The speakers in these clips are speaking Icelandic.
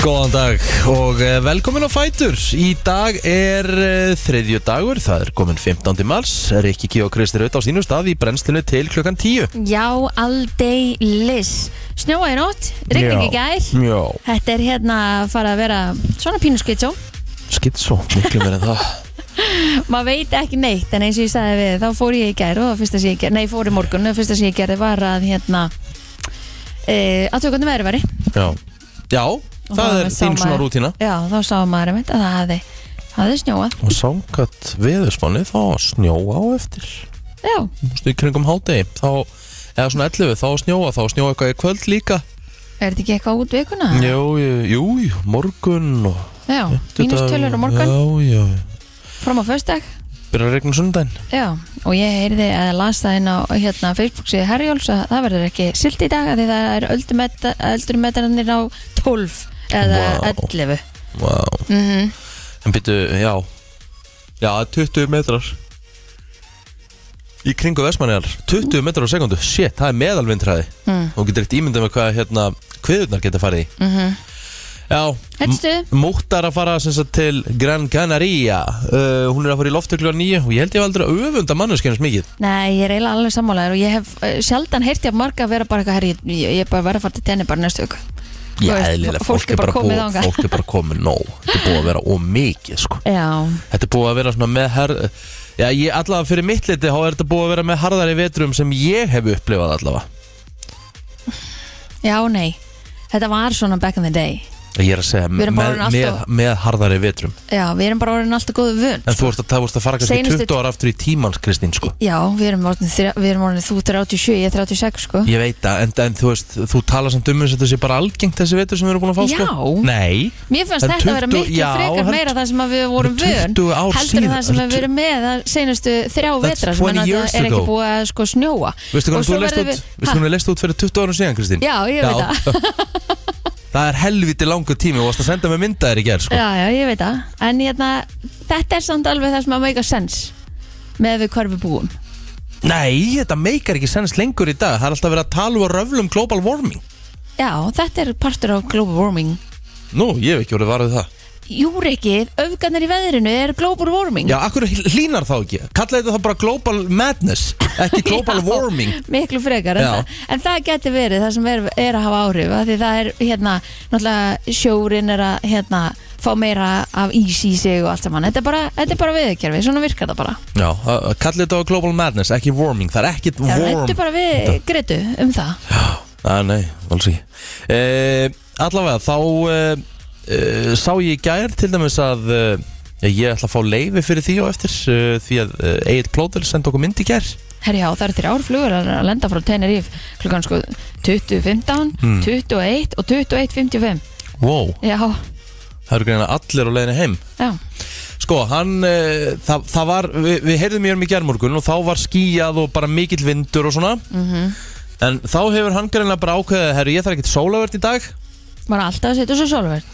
Góðan dag og eh, velkomin á Fætur Í dag er eh, þriðju dagur, það er komin 15. mars Rikki G og Kristi Raut á sínum stað í brennslinu til klukkan 10 Já, aldrei lis Snjóa í nótt, rigning í gær Já, Þetta er hérna að fara að vera svona pínu skitsjó skitt svo, miklu meir en það Maður veit ekki neitt en eins og ég sagði við þá fór ég í gær og það fyrsta sem ég gerði Nei, fór í morgun og það fyrsta sem ég gerði var að hérna e, að tökundum veðri væri Já, Já Og það þá er sá þín svona maður- rútína Já, þá sá maður einmitt að það hafði, hafði snjóað Og samkvæmt veðurspáni þá snjóa á eftir Já, Þú veist, í kringum hádegi þá, eða svona 11, þá snjóa, þá snjóa eitthvað í kvöld líka er þetta ekki eitthvað út vikuna? Jú, jú, jú, morgun og Já, mínustölur á morgun, Já, já, fram á föstudag byrjar að regna sundaginn Já, og ég heyrði að las það inn á hérna, Facebook síðu Herjóls að það verður ekki silt í dag að því það er öldumeta- öldurmetarnir á 12 eða Vá. 11 Vá mm En byrju, já Já, 20 metrar Í kringu Vestmanniðar 20 metrar á sekundu, shit, það er meðalvindræði Mm. Þú getur ekkert ímyndað með hvað hérna Kviðurnar geta farið í mm -hmm. Já, Heldstu? M- Múttar að fara sem sagt, til Gran Canaria uh, Hún er að fara í loftöklu á nýju Og ég held ég aldrei að öfunda manneskjans mikið Nei, ég er eiginlega alveg sammálaður og ég hef uh, sjaldan heyrti af marga að vera bara eitthvað herri, ég, ég er bara að vera að fara til tenni bara næstu ykkur Já, Þú veist, eðlilega, fólk er bara komið búið þangað. Fólk er bara komið nóg Þetta er búið að vera ómikið sko. Já, Þetta er búið að vera svona með her... Já, ég allavega fyrir mitt liti þá er þetta búið að vera með harðari vetrum sem ég hef upplifað allavega já, nei Þetta var svona back in the day Ég er að segja Við með, erum bara orðin með, alltaf- með harðari vetrum Já, við erum bara orðin alltaf góðu vun En þú vorst að, það vorst að fara kannski Seinustu- 20 ára aftur í tímans Kristín sko Já, við erum orðin, þrjá- við erum orðin þú 37, ég 36 sko Ég veit það, en, en þú veist, þú talar samt um þess að þetta sé bara algengt þessi vetur sem við erum búin að fá sko Já. Nei, Mér fannst Það er þetta að vera 20 miklu já, það frekar er- meira það sem að við vorum það er vön 20 ár heldur en síðan, það sem það er að við erum með það senustu þrjá That's vetra sem 20 að years það er ekki ago. búið að sko snjóa veistu Og hvernig svo þú leist verðum út við- Veistu hvernig þú leist út fyrir 20 ára síðan Kristín Já, ég veit það Það er helviti langur tími og varst að senda með myndaðir í gerð sko Já, já, ég veit það En hérna, þetta er samt alveg það sem að make a sense með við hvar við búum Nei, þetta meikar ekki sens lengur í dag Það er alltaf verið að tala um og röflum global warming Já, þetta er partur af global warming Nú, ég hef ekki orðið varðið það Júrikið, öfgarnar í veðrinu er global warming Já, akkur hlínar þá ekki Kallaði þetta þá bara global madness Ekki global Já, warming miklu frekar en, Já. það, en það getur verið það sem er, er að hafa áhrif af því það er hérna náttúrulega sjórin er að hérna fá meira af ís í sig og allt saman þetta er bara, þetta er bara viðkerfi, svona virkar það bara Já, uh, kallið þetta á global madness, ekki warming Það er ekkit það warm rættu bara við Gretu um það Á, nei, alls ekki uh, Allavega, þá uh, uh, sá ég í gær til dæmis að uh, ég ætla að fá leifi fyrir því og eftir uh, því að uh, Egil Plóður sendi okkur mynd í gær herjá, það eru þrjár flugur að að lenda frá Tenerife klukkan sko 20.15 Hmm. 21 og 21.55 Wow, já, það eru greina allir á leiðinu heim já, Sko, hann, uh, það, það var, við, við heyrðum í honum í gerðmorgun og þá var skíjað og bara mikill vindur og svona Mhm. En þá hefur hann greinlega bara ákveðið, herru, ég þarf ekkert sólavert í dag maður er alltaf að setja svo sólverð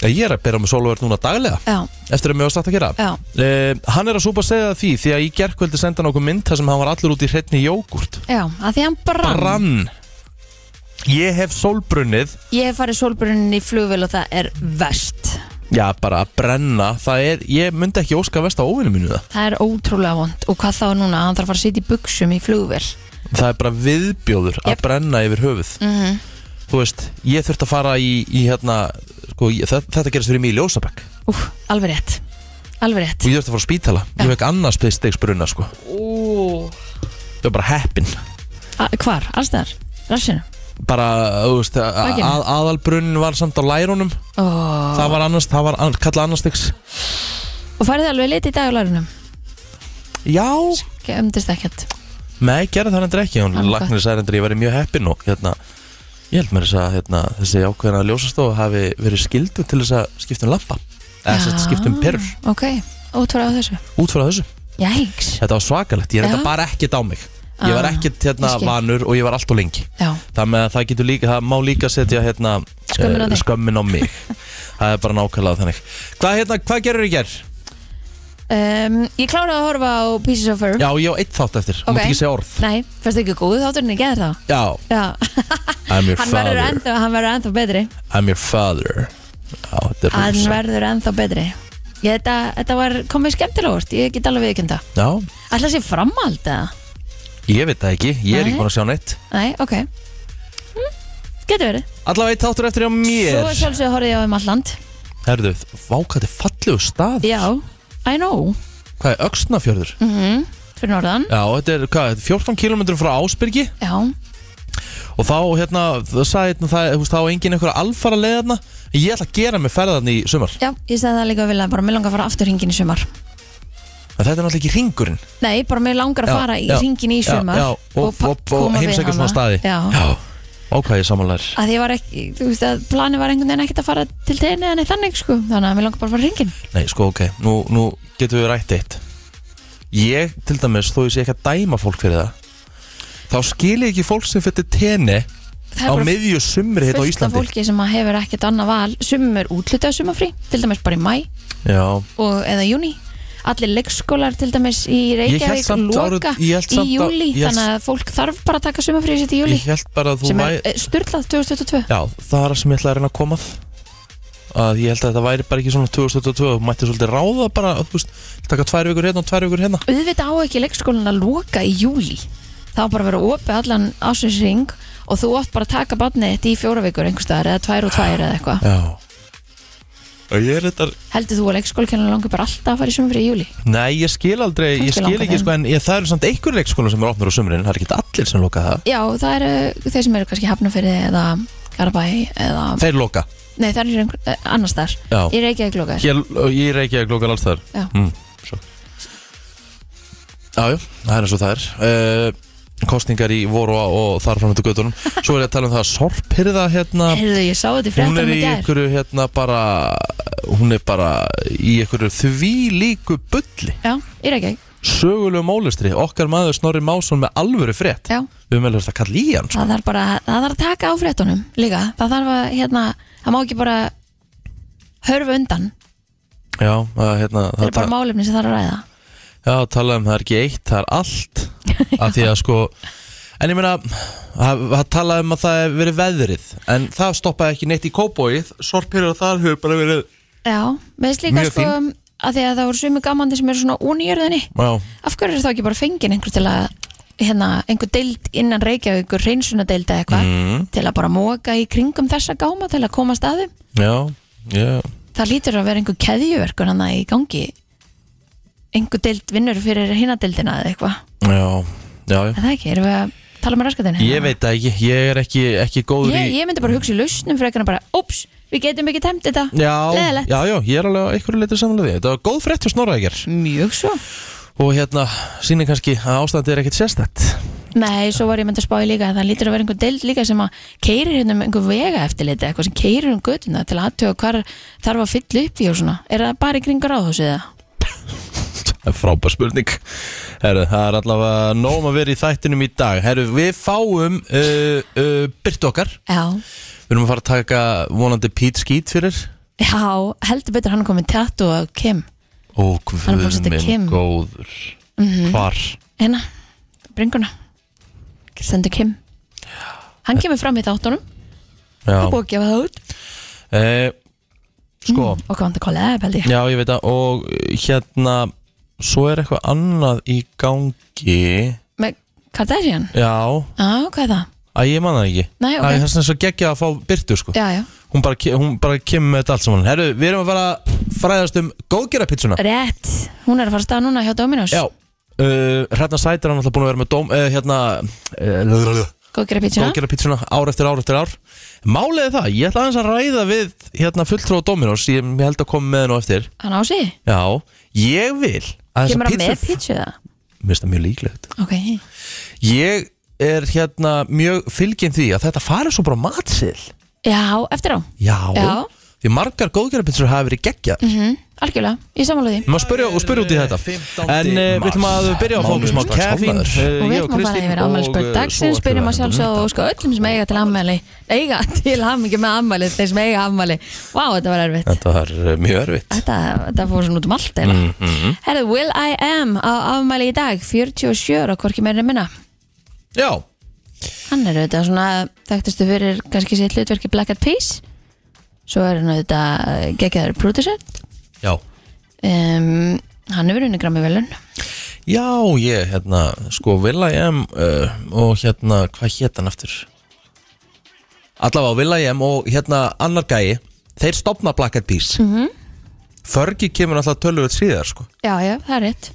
ja, Ég er að byrja með sólavert núna daglega, já, eftir að mér var sagt að gera já, uh, Hann er að súpa að segja það því, því að í gerðkvöldi senda hann okkur mynd þar sem hann var allur út í hreitni jógurt já, að því hann brann, Brann Ég hef sólbrunnið, ég hef farið sólbrunnin í flugvél og það er vest já bara að brenna, það er, ég myndi ekki óska vest á óvinni mínu það Það er ótrúlega vond og hvað þá núna að hann þarf að fara að sitja í buksum í flugvél Það er bara viðbjóður að Jep. brenna yfir höfuð Mhm. Þú veist, ég þurft að fara í, í hérna sko, ég, þetta, þetta gerist fyrir mig í Ljósabæk Úf, alveg rétt Alveg rétt og ég þurft að fara á spítala Ég hef ekki annars beðið stegsbruna sko Ú. Það er bara heppin Hvar? Allstæðar? Rassinu? bara, þú veist, að, Bakinu? að, aðalbrunn var samt á lærunum Oh. það var annars, það var an, kallað annars stegs Og farið þið alveg lit í dag á lærunum? Já, Gemdist ekkert nei, gerði það endur ekki hún Annað gott. lagnir særi endur, ég væri mjög heppin og hérna, ég held mér þess að hérna, þessi ákveðna ljósastofa hafi verið skildu til þess að skipta um lampa eða sem sagt, Já. skipta um perur, Ok, ótrúlega á þessu út frá þessu Jæks Þetta var svakalegt, ég reynda Já. bara ekkert á mig Ég var Ah, ekkert hérna ég skil. vanur og ég var allt og lengi Já, Það með að það getur líka, það má líka setja hérna Skömmin á eh, þig. Hm? skömmin á mig Það er bara nákvæmlega þannig Hvað hérna, hvað gerir ég ger? um, Ég kláraði að horfa á Pieces of Her Já, ég á eitt þátt eftir, hún Ok. mátt ekki segja orð Nei, fyrst ekki góð þátturinn í geður þá Já, Já, I'm your hann verður father ennþá, hann verður ennþá betri I'm your father Já, þetta er Hann rosa verður ennþá betri ég, þetta, þetta var komið skemmtilega úr Ég get alveg viðkjönda Já, Ætla að sé framhald eða? ég veit það ekki, ég er ekki Nei. búin að sjá neitt Nei, ok hm, Getur verið Allavega eitt þáttur eftir á mér Svo sjálfsög horfði ég á um alland Herðu, vá hvað þetta er fallegu stað Já, I know Hvað er Öxnafjörður? mm Fyrir norðan Já, þetta er hvað, þetta er 14 km frá Ásbyrgi Já, og þá hérna, það sagði hérna það, þú veist, þá er engin einhver alfara leið hérna ég ætla að gera mig ferðan í sumar já, ég segi það líka að vilja Bara mér langar að fara aftur hringin í sumar en þetta er náttúrulega ekki ringurinn Nei, bara mér langar að Já, fara í já, hringin í já, sumar já, og, og, pa- og, koma við heimsækja svona hana. staði Já, ok, ég samanlegar að því ég var ekki, þú veist að plani var einhvern veginn ekkert að fara til tegni en þannig sko, þannig að mér langar bara að fara hringin nei, sko, ok, nú, nú getum við rætt eitt ég, til dæmis, þó ég sé ekki að dæma fólk fyrir það þá skil ég ekki fólk sem fyrir tenni Það á miðju sumri hérna á fullt af Íslandi fólki sem að hefur ekkert annað val sumur útlitað sumafrí, til dæmis bara í mæ já, og, eða júni allir leikskólar til dæmis í Ég hélt Reykjavík samt árið- loka ég hélt í samt á- júli ég hélt- þannig að fólk þarf bara að taka sumafrí sitt í júli ég held bara að þú sem væ... er eh, sturlað 2022 Já, það er það sem ég ætla að reyna að koma að að ég held að þetta væri bara ekki svona 2022 þú mætti svolítið ráða bara þú veist, taka tvær vikur hérna og tvær vikur hérna auðvitað á ekki leikskólan að loka í júli það á bara að vera opið allan ásinsring og þú ótt bara að taka barnið þitt í fjóra vikur einhverstaðar eða tvær og tvær eða eitthvað Já Og ég er þetta heldur þú að leikskólakennar langar bara alltaf að fara í sumfri í júli Nei, ég skil aldrei, ég Kannski skil langar ekki þeim. sko en ég, það eru samt einhverjir leikskóla sem eru opnur á sumurinn það er ekki allir sem loka það já, það eru þeir sem eru kannski hafnafyrði eða Garabæ eða Þeir loka nei, það eru einhver, eh, annars þar Já, ég reykja ekki lokar Hér, ég reykja að loka alls þar Já. mm, svo. Já, já, það er eins og það er uh, Kostningar í voru og, og þar fram eftir göttunum Svo er ég að tala um það að sorphyrða hérna heyrðu, ég sá þetta í hún er fréttum í í gær einhverju hérna bara hún er bara í einhverju því líku bulli já, ég reykja ekki, sögulegu mólistri, okkar maður Snorri Másson með alvöru frétt já við meðlum þetta kall í hann sko. það þarf bara, það þarf að taka á fréttunum líka, það þarf að, hérna það má ekki bara hörfa undan, já, að, hérna, það það, eru bara málefni sem þarf að ræða já, talaði um það er ekki eitt það er allt af því að sko En ég meina, það það talaði um að það hef verið veðrið En það stoppaði ekki neitt í kóbóið Sorpirur þar hefur bara verið Já, með þess líka Mjög sko að því að það voru sumi gamandi sem eru svona unýjörðinni Já, af hverju er þá ekki bara fengin einhver til að hérna, einhver deild innan Reykjavík einhver reynsunadeild eða eitthvað Mm, til að bara móka í kringum þessa gáma til að koma staðum já, já það lítur að vera einhver keðjuverkun hann í gangi einhver deild vinnur fyrir hinna deildina eða eitthvað Já, já, já er það ekki, erum við að tala með raskatinn Ég veit það ekki, ég er ekki, ekki góður í ég, ég myndi bara hugsa í lausnum fyrir eitthvað bara, óps, við getum ekki temt þetta Já, Leiðilegt. já, já, ég er alveg að einhverju leiti samanlega því Þetta var góð frétt hjá Snorraðegjör mjög svo Og hérna, sýnir kannski að ástandið er ekkert sérstætt Nei, svo var ég myndi að spá í líka að það lítur að vera einhver deild líka sem að keirir hérna um einhver vega eftirliti eitthvað sem keirir um götuna til að aðtöga hvar þarf að fylla upp í og svona Er það bara í kringur ráðhúsið eða? Það er Frábær spurning Herru, það er allavega nóg um að vera í þættinum í dag Herru, við fáum uh, uh, Byrt okkar Já, Við erum að fara að taka vonandi Pete Skeet fyrir já, heldur betur hann er komið tattu og Kim Ó, Hann er búinn guð að setja minn Kim. góður Hvar? Hérna, bringuna Stendur Kim Hann kemur fram í þáttunum Já og búið að gefa það út uh, Sko og kom hann til kollab held Mm, ég Já, ég veit að og eh, hérna Svo er eitthvað annað í gangi Með Kardashian? Já, Já, hvað er það? að ég man það ekki Nei, ok. Það er þess að svo geggja að fá byrtu sko Já, já, hún bara, ke- hún bara kemur með þetta allt saman Herru, við erum að fara að fræðast um góðgera pítsuna rétt Hún er að fara að staða núna hjá Dominos Já Uh, hérna Sætir hann alltaf búin að vera með dóm uh, hérna, uh, Góð gera pítsuna góðgera pítsuna ár eftir ár eftir ár Málið er það, ég ætla aðeins að ræða við hérna fulltrú á Dominos, ég, ég held að koma með hann á eftir Hann á sig Já, ég vil að Kemur hann með pítsur- pítsu það? Mér finnst það mjög líklegt Ok, Ég er hérna mjög fylginn því að þetta fari svo bara á matseðil já, eftir á Já, Já. Því margar góðgerðarpinsur hafa verið geggja mm Algjörlega, ég samála því Má spyrja og spyrja út í þetta 15. En eh, við ætlum að byrja á að fókusum á Mánuður strax Kevin hálfnaður. eh, Og við ég ætlum að fara Kristín yfir og, afmælisbörn eh, dagsins, svo byrjum að ætlum við sjálfsögðu og sko öllum sem eiga til afmæli eiga til afmæli með afmæli, þeir sem eiga afmæli Vá, þetta var erfitt Þetta var eh, mjög erfitt Mhm. Þetta, þetta fór svona út um allt eða Herðu, Will I Am á afmæli í dag 47 ára, hvorki meira minna Já, Hann er auðvitað svona þekktustu fyrir kannski sitt hlutverki Black Eyed Peas Svo er hann auðvitað eh, geggjaður producer já um, Hann hefur unni grammi velun Já, ég, hérna, sko, Will.i.am uh, og hérna, hvað hétt hann aftur? Allavega Will.i.am og hérna annar gæi, þeir stopna Black Eyed Peas mm Mhm. -hmm. Fergie kemur alltaf tölvöld síðar, sko Já, já, það er rétt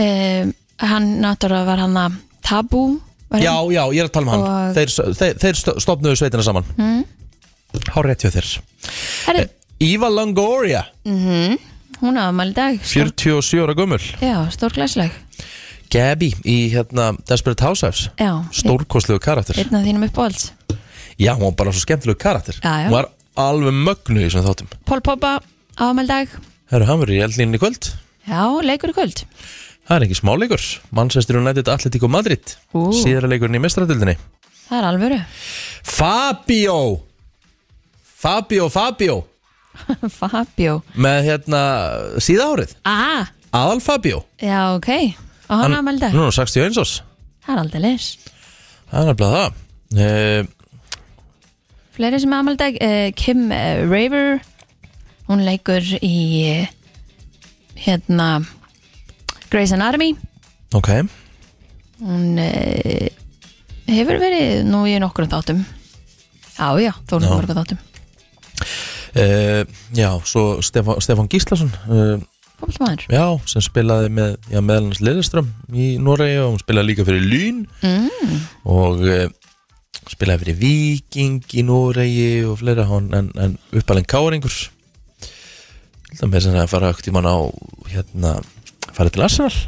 um, Hann náttúrulega var hann að Tabú var hann? Já, já, ég er að tala um hann Og- Þeir, þeir, þeir sto- stofnuðu sveitina saman mm. Hm? Há rétt hjá þér Herðu, Eva Longoria, Mhm. hún á afmæli í dag stór, 47 ára gummul Já, stór glæsleg Gabby í hérna Desperate Housewives Já, Stórkostlegu Eh, karakter einn af þínum uppáhalds Já, hún var bara svo skemmtilegu karakter Eh. Já, já. Hún var alveg mögnu í þessum þáttum Pól Poppa á afmæli í dag Herru, hann verður í eldlínni í kvöld Já, leikur í kvöld Það er ekki smáleikur Manchester United Atletico Madrid Ú. Síðara leikurinn í mestradildinni Það er alvöru Fabio Fabio, Fabio Fabio Með hérna síða árið Ah, Aðal Fabio já, ok Og hann á afmæli í dag Nú, er hann 61 ás Það er aldrei leis Það er nefnilega það uh, Fleiri sem er afmældag uh, Kim uh, Raver Hún leikur í eh, hérna Grey's Anatomy Eh, Ok Hún uh, hefur verið nú í nokkrum þáttum Já, já, þó er hún Já. í mörgum þáttum uh, Já, svo Stefán, Stefán Gíslason uh, Fólkmaður Já, sem spilaði með já, meðalans Lilleström í Noregi og hún spilaði líka fyrir Lún mm. og uh, spilaði fyrir Viking í Noregi og fleira hon, en, en uppalinn Káringur held að með sem að fara ökt í mann á hérna, fara til Arsenal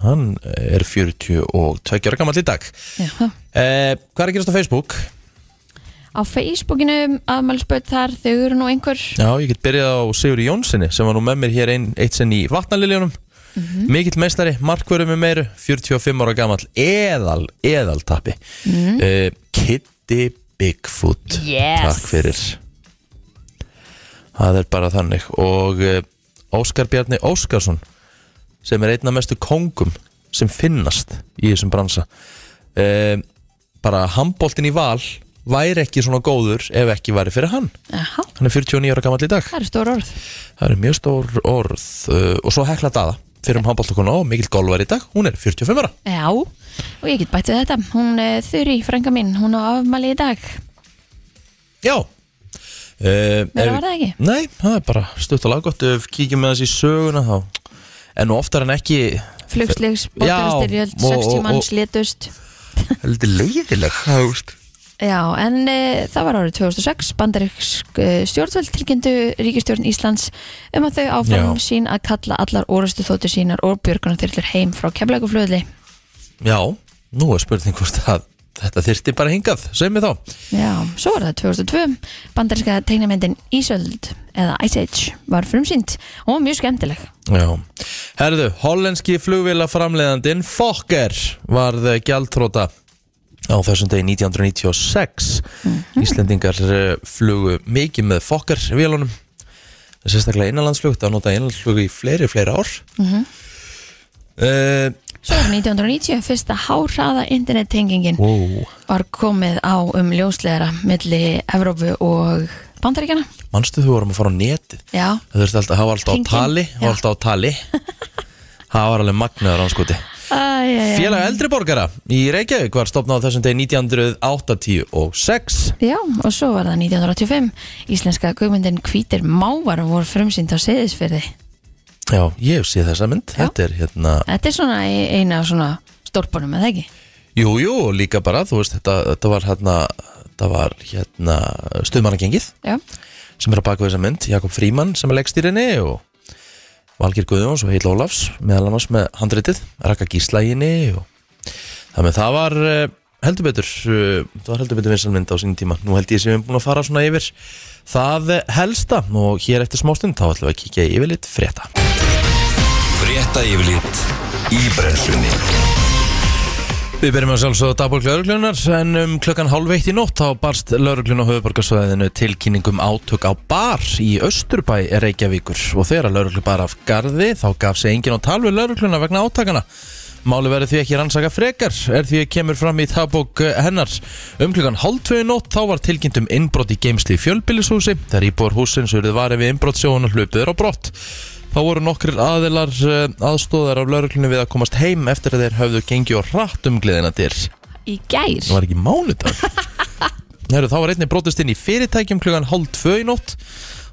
hann er 42 ára gammal í dag Já. eh, Hvað er að gerast á Facebook? Á Facebookinu afmælspöld þar þau eru nú einhver Já, ég get byrjað á Sigurði Jónssoni sem var nú með mér hér ein, eitt sinn í vatnaliljónum mikill meistari, markvöru með meiru 45 ára gamall, eðal eðaltappi mm Kitty Bigfoot Yes. takk fyrir það er bara þannig og eh, Óskar Bjarni Óskarsson sem er einn af mestu kongum sem finnast í þessum bransa eh, bara handbóltin í val væri ekki svona góður ef ekki væri fyrir hann Aha, hann er 49 ára gammal í dag það eru stór orð það eru mjög stór orð uh, og svo hekla daða fyrir um handbóltakona og mikill gólvar í dag hún er 45 ára Já, og ég get bætt við þetta Hún uh, Þuri, frænka mín, hún á afmæli í dag já uh, Meira var það ekki? nei, það er bara stutt og laggott ef kíkjum með þessi í söguna þá en nú oftar en ekki Flugslegs, Já, borgarastyrjöld, og- 60 og- manns létust heldur leiðileg hást Já, en e, það var árið 2006 bandaríksk e, stjórnvöld tilkynntu ríkistjórn Íslands um að þau áfram Já. sín að kalla allar orustu þóttu sínar og björgunarþyrlur heim frá kemlauguflöðli. já, nú er spurning hvort að þetta þyrti bara hingað, segjum við þá Já, svo var það 2002 bandaríska tegnamyndin Ísöld eða Ice Age var frumsýnd og mjög skemmtileg. já, herðu, hollenski flugvélaframleðandin Fokker varð gjaldtróta á þessum degi 1996 Mhm. Íslendingar eh, flugu mikið með fokkar vélunum sérstaklega innanlandsflug það nota innanlandsflug í fleiri, fleiri ár Eh, mm Svo var 1990 fyrsta háhraða internettengingin wow. var komið á um ljósleðara milli Evrópu og bandaríkjana. manstu þú vorum að fara á netið Já, það þurfti alltaf, það var alltaf Hringinn, á tali það var já. alltaf á tali það var alveg magnaður anskoti Æ, æ, æ. Félag eldri borgara í Reykjavík var stopnað á þessum degi 1986 Já, og svo var það 1985 Íslenska guðmyndin Hvítir Mávar voru frumsýnd á Seyðisfyrði Já, ég hef séð þessa mynd Já. Þetta er hérna Þetta er svona e- eina af svona stórpunum, eða ekki? Jú, jú, og líka bara, þú veist, þetta, þetta var hérna, þetta var hérna stuðmannagengið Já, sem er að baka við þessa mynd, Jakob Fríman sem er leggstýrinni og Valgir Guðjóns og Heil Ólafs, meðal annars með handritið, Raka Gíslæginni og þannig að það var eh, heldur betur, eh, það var heldur betur vinsal mynd á sínum tíma, nú held ég sem við erum búin að fara svona yfir það eh, helsta og hér eftir smástund þá ætlum við að kíkja yfir lit frétta Frétta yfirlit í brennslunni Við byrjum að sjálfsögða dagbólk lauruglunar en um klokkan hálf eitt í nótt þá barst lauruglun á höfuborgarsvæðinu tilkynningum átök á bar í Östurbæ Reykjavíkur og þegar lauruglu bar af garði þá gaf sig enginn á tal við laurugluna vegna átakana. Máli verður því ekki rannsaka frekar er því að kemur fram í dagbók eh, hennar. Um klokkan hálf tvö í nótt þá var tilkynnt um innbrot í geimsli í fjölbýlishúsi þegar íbúar húsins urðu varið við innbrottsjóðun og hlupið er á brott. Þá voru nokkrir aðilar eh, aðstóðar af lauruglunni við að komast heim eftir að þeir höfðu gengið og rætt um gleðina dyr. Í gær Það var ekki mánudag. Heru, þá var einnig brotist inn í fyrirtækjum klugan hálf tvö í nótt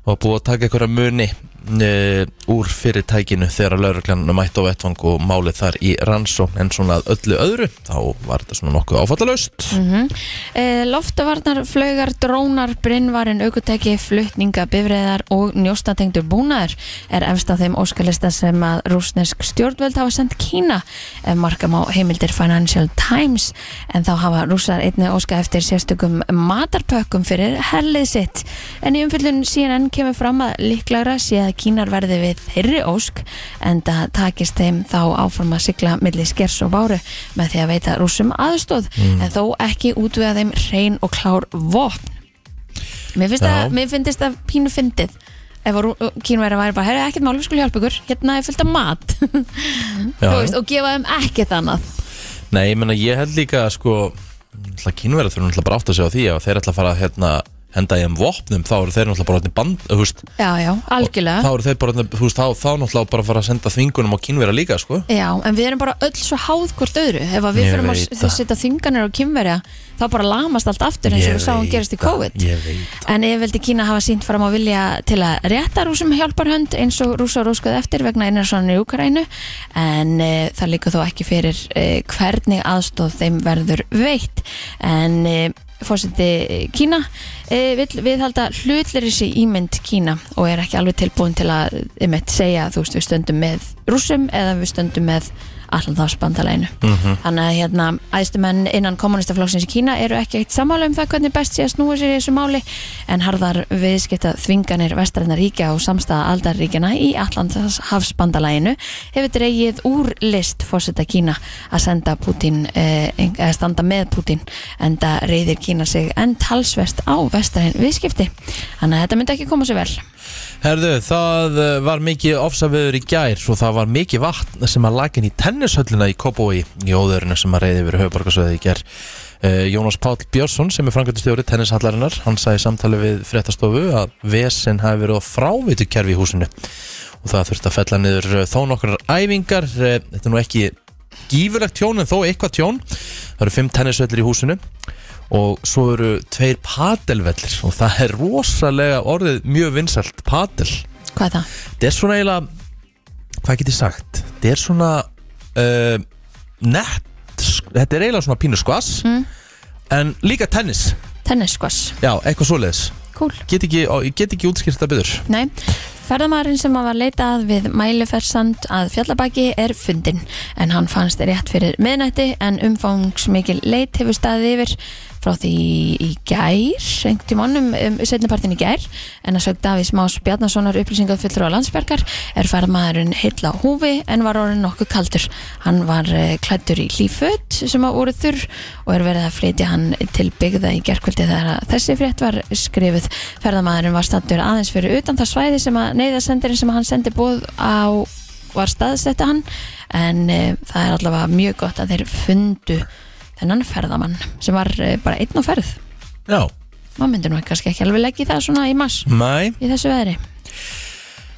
og búið að taka einhverja muni uh, úr fyrirtækinu þegar lauruglan mætti á vettvang og málið þar í rannsókn en svona að öllu öðru þá var þetta svona nokkuð áfallalaust Eh, Loftavarnar, flaugar, drónar, brinnvarin, aukutæki, flutninga, bifræðar og njóstatengdur búnaður er efst á þeim óskalista sem að rúsnesk stjórnvöld hafa sendt Kína ef markam á heimildir Financial Times en þá hafa rússar einnig óska eftir sérstökum matarpökkum fyrir herlið sitt. En í umfyllun CNN kemur fram að líklegra sé að Kínar verði við þeirri ósk en það takist þeim þá áfram að sigla milli skers og báru með því að veita rússum aðstóð en þó ekki útvega þeim hrein og klár vopn Mér finnst Já. það, mér finnst það pínu fyndið ef að Rú- kínverjar væri bara, herru ekkert mál, við skulum hjálpa ykkur hérna er fullt af mat Þú veist, og gefa þeim ekkert annað Nei, ég menna ég held líka sko, náttúrulega kínverðar þurfum náttúrulega bara átt að segja á því að þeir ætla að fara að hérna, henda í þeim vopnum, þá eru þeir náttúrulega bara orðnir band, þú veist, Já, já, þá algjörlega eru þeir bara, orðnir- þú veist, þá, þá náttúrulega bara að fara að senda þvingunum á kínverðar líka, sko Já, en við erum bara öll svo háð hvort öðru ef að við Ég fyrir að veit s- það. setja þinganir á kínverja þá bara lamast allt aftur eins og við sáum gerist í COVID Ég veit En yfirvöldi Kína hafa sínt fram á vilja til að rétta rúsum hjálparhönd eins og rúsa rúskuð eftir vegna innarsonar í Úkarænu en e, það líka þó ekki fyrir e, hvernig aðstóð þeim verður veitt en e, fórseti Kína e, vill viðhalda hlutleiri sér ímynd Kína og er ekki alveg tilbúin til að um segja þú veist við stöndum með rúsum eða við stöndum með allan þá spandaleginu Mm-hmm. þannig að hérna æðstumenn innan kommunistaflokksins í Kína eru ekki eitt sammála um það hvernig best sé að snúa sér í þessu máli en harðar viðskipta þvinganir vestræna ríkja og samstæða aldarríkjana í Allandshafsbandalæginu hefur dreigið úr list fórseta Kína að senda Putin eh, eng- eða standa með Putin en það reyðir Kína sig en talsvert á vestræn viðskipti þannig að þetta myndi ekki koma sér vel Herðu, það eh, var mikið ofsaveður í gær og það var mikið vatn sem að lakin í tennishöllina í Kópói í óðurinu sem að reyði verið höfuborgarsöðið í gær Eh, Jónas Páll Björnsson sem er frangatistjóri tennishallarinnar, hann sagði í samtali við fréttastofu að vesen hafi verið á frávitu kerfi í húsinu og það þurfti að fella niður eh, þó nokkrar æfingar Eh, þetta er nú ekki gífurlegt tjón en þó eitthvað tjón það eru fimm tennisvellir í húsinu og svo eru tveir padelvellir og það er rosalega orðið mjög vinsalt padel hvað er það? þetta er svona eiginlega hvað get ég sagt þetta er svona uh, nett þetta er eiginlega svona pínu skvass Mm. en líka tennis Tennis skvass, já, eitthvað svoleiðis cool get ekki, á, ég get ekki útskýrt þetta byggður Nei, ferðamæðurinn sem að var leitað við mælufersand að fjallabaki er fundinn en hann fannst rétt fyrir miðnætti en umfangsmikil leit hefur staðið yfir frá því í gær, einhvern tímann um, um setnipartin í gær en að sögð Davís Más Bjarnasonar upplýsingað fullur á landsbergar er ferðamæðurinn heill á húfi en var orðin nokkuð kaldur. Hann var eh, klæddur í líföt sem að voru þurr og er verið að flytja hann til byggða í gerkvöldi þegar að þessi frétt var skrifuð. Ferðamæðurinn var stattur aðeins fyrir utan það svæði sem að neyðasendurinn sem hann sendi búð á var staðsetta hann en e, það er allavega mjög gott að þeir fundu þennan ferðamann sem var e, bara einn á ferð. já, Maður myndir nú kannski ekki alveg leggja í það svona í mass mæ í þessu veðri.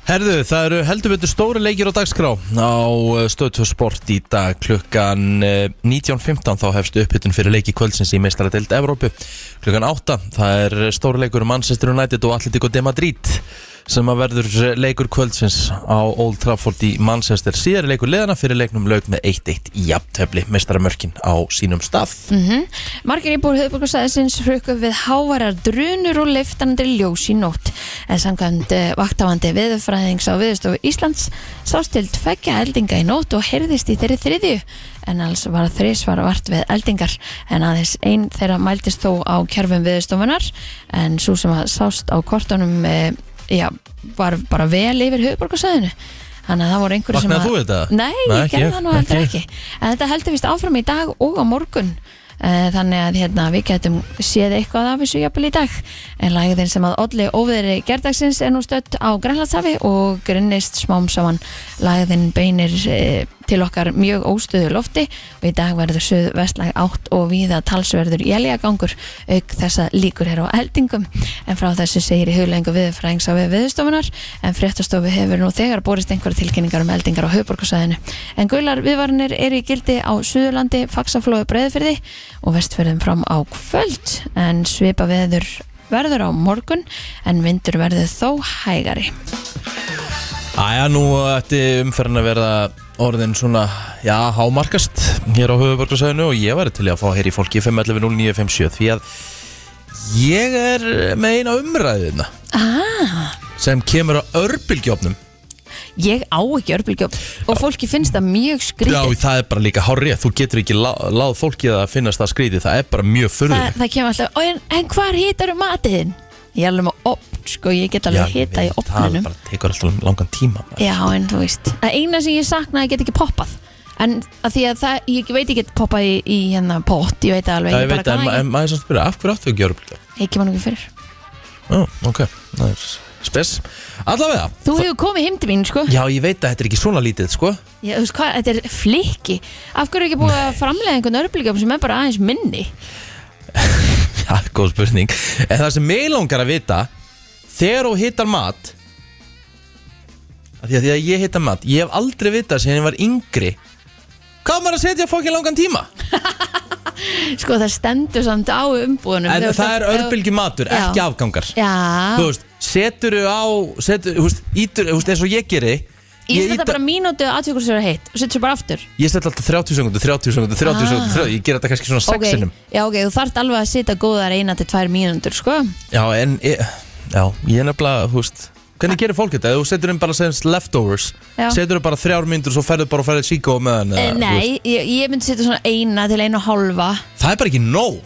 Herðu, það eru heldur betur stóri leikir á dagskrá á stöðtöð sport í dag klukkan eh, 19.15 þá hefst upphittun fyrir leiki kvöldsins í meistara deild Evrópu klukkan 8, það er stóri leikur um Manchester United og Atletico de Madrid sem að verður eh, leikur kvöldsins á Old Trafford í Manchester síðar leikur liðana fyrir leiknum lauk með 1-1 í jafntefli mestaramörkin á sínum stað Mhm. Margir íbúr höfðbúrkustæðisins hrukku við hávarar drunur og liftanandi ljós í nótt. En samkvæmt eh, vaktavandi viðurfræðings á viðurstofu Íslands sást til tveggja eldinga í nótt og heyrðist í þeirri þriðju. En alls var þrísvar vart við eldingar en aðeins einn þeirra mæltist þó á kjörfum viðurstofunar en svo sem að sást á kortunum eh, já, var bara vel yfir höfðbúrkustæðinu. Þannig að það voru einhverju sem að... Vaknaði þú við þetta? Nei, Nei, ég ekki gerði ég, það nú heldur ekki ég. ekki en þetta heldur vist áfram í dag og á morgun Eh, þannig að hérna, við getum séð eitthvað af þessu jafnvel í dag en lægðin sem að Olli óviðri gerdagsins er nú stött á Grænlandsafi og grunnist smám saman lægðin beinir eh, til okkar mjög óstöðu lofti og í dag verður söð vestlæg átt og víða talsverður jæljagangur auk þess að líkur er á eldingum en frá þessu segir í huglengu viðfræðings á við viðstofunar en fréttastofu hefur nú þegar borist einhverja tilkynningar um eldingar á höfborgarsæðinu en gular viðvarnir eru í gildi á Suðurlandi, Faxaflói, Breiðfyrði og vestfyrðum fram á kvöld en svipa veður verður á morgun en vindur verður þó hægari Æja, nú ætti umferðin að verða orðin svona, já, hámarkast hér á höfuborgarsæðinu og ég væri til í að fá hér í fólki 511-0957 því að ég er með eina umræðina ah, sem kemur á örbylgjófnum Ég á ekki örbylgjóf og fólki finnst það mjög Já, skrítið það er bara líka hárið, þú getur ekki lá, láð fólki að finnast það skrítið, það er bara mjög það, furðið það kemur alltaf, "Ó, en, en hvar hýtar um matiðin? Ég er alveg með opn, sko, ég get alveg hýta í opnunum Það bara tekur alltaf langan tíma maður. Já, en þú veist Það eina sem ég sakna, ég get ekki poppað En að því að það, ég veit ekki get poppað í, í hérna pott, ég veit það alveg Já, ég veit, bara en, kann en maður er samt að spyrja, af hverju áttu ekki örbylgjófn? ekki, ekki mann ekki fyrir Já, ok, það er spes Allavega, Þú hefur komið heim til mín, sko já, ég veit að þetta er ekki svona lítið, sko Já, þú veist hvað, þetta er flikki Af hverju er ekki búið að framlega einhvern örbylgjum sem er bara aðeins minni Já, góð spurning En það sem mig langar að vita Þegar þú hittar mat af því að, því að ég hittar mat Ég hef aldrei vitað sem ég var yngri Hvað á maður að setja fokkin langan tíma Sko, það stendur samt á umbúðunum En Þegar það er þú- örbylgjum matur, Já. ekki afgangar Þú Já, veist, setur þú á setur, þú veist, ítur, þú veist, eins og ég geri ég setja íta- bara mínútu aðtökur sér að heitt og setja sér bara aftur ég set alltaf 30 sekundu, 30 sekundu, 30 Ah. sekundu 30, Ég ger þetta kannski svona Ok, 6 sinnum Já, ok, þú þarft alveg að setja góðar eina til tvær mínútur, sko Já, en ég, já, ég er nefnilega, þú veist Hvernig gerir fólk þetta? Ef Þú setur um bara segjast leftovers Já. Setur um bara þrjár myndur og svo ferðu bara og ferðu síkó meðan Eh, Nei, ég, ég myndi setja svona eina til eina og hálfa Það er bara ekki nóg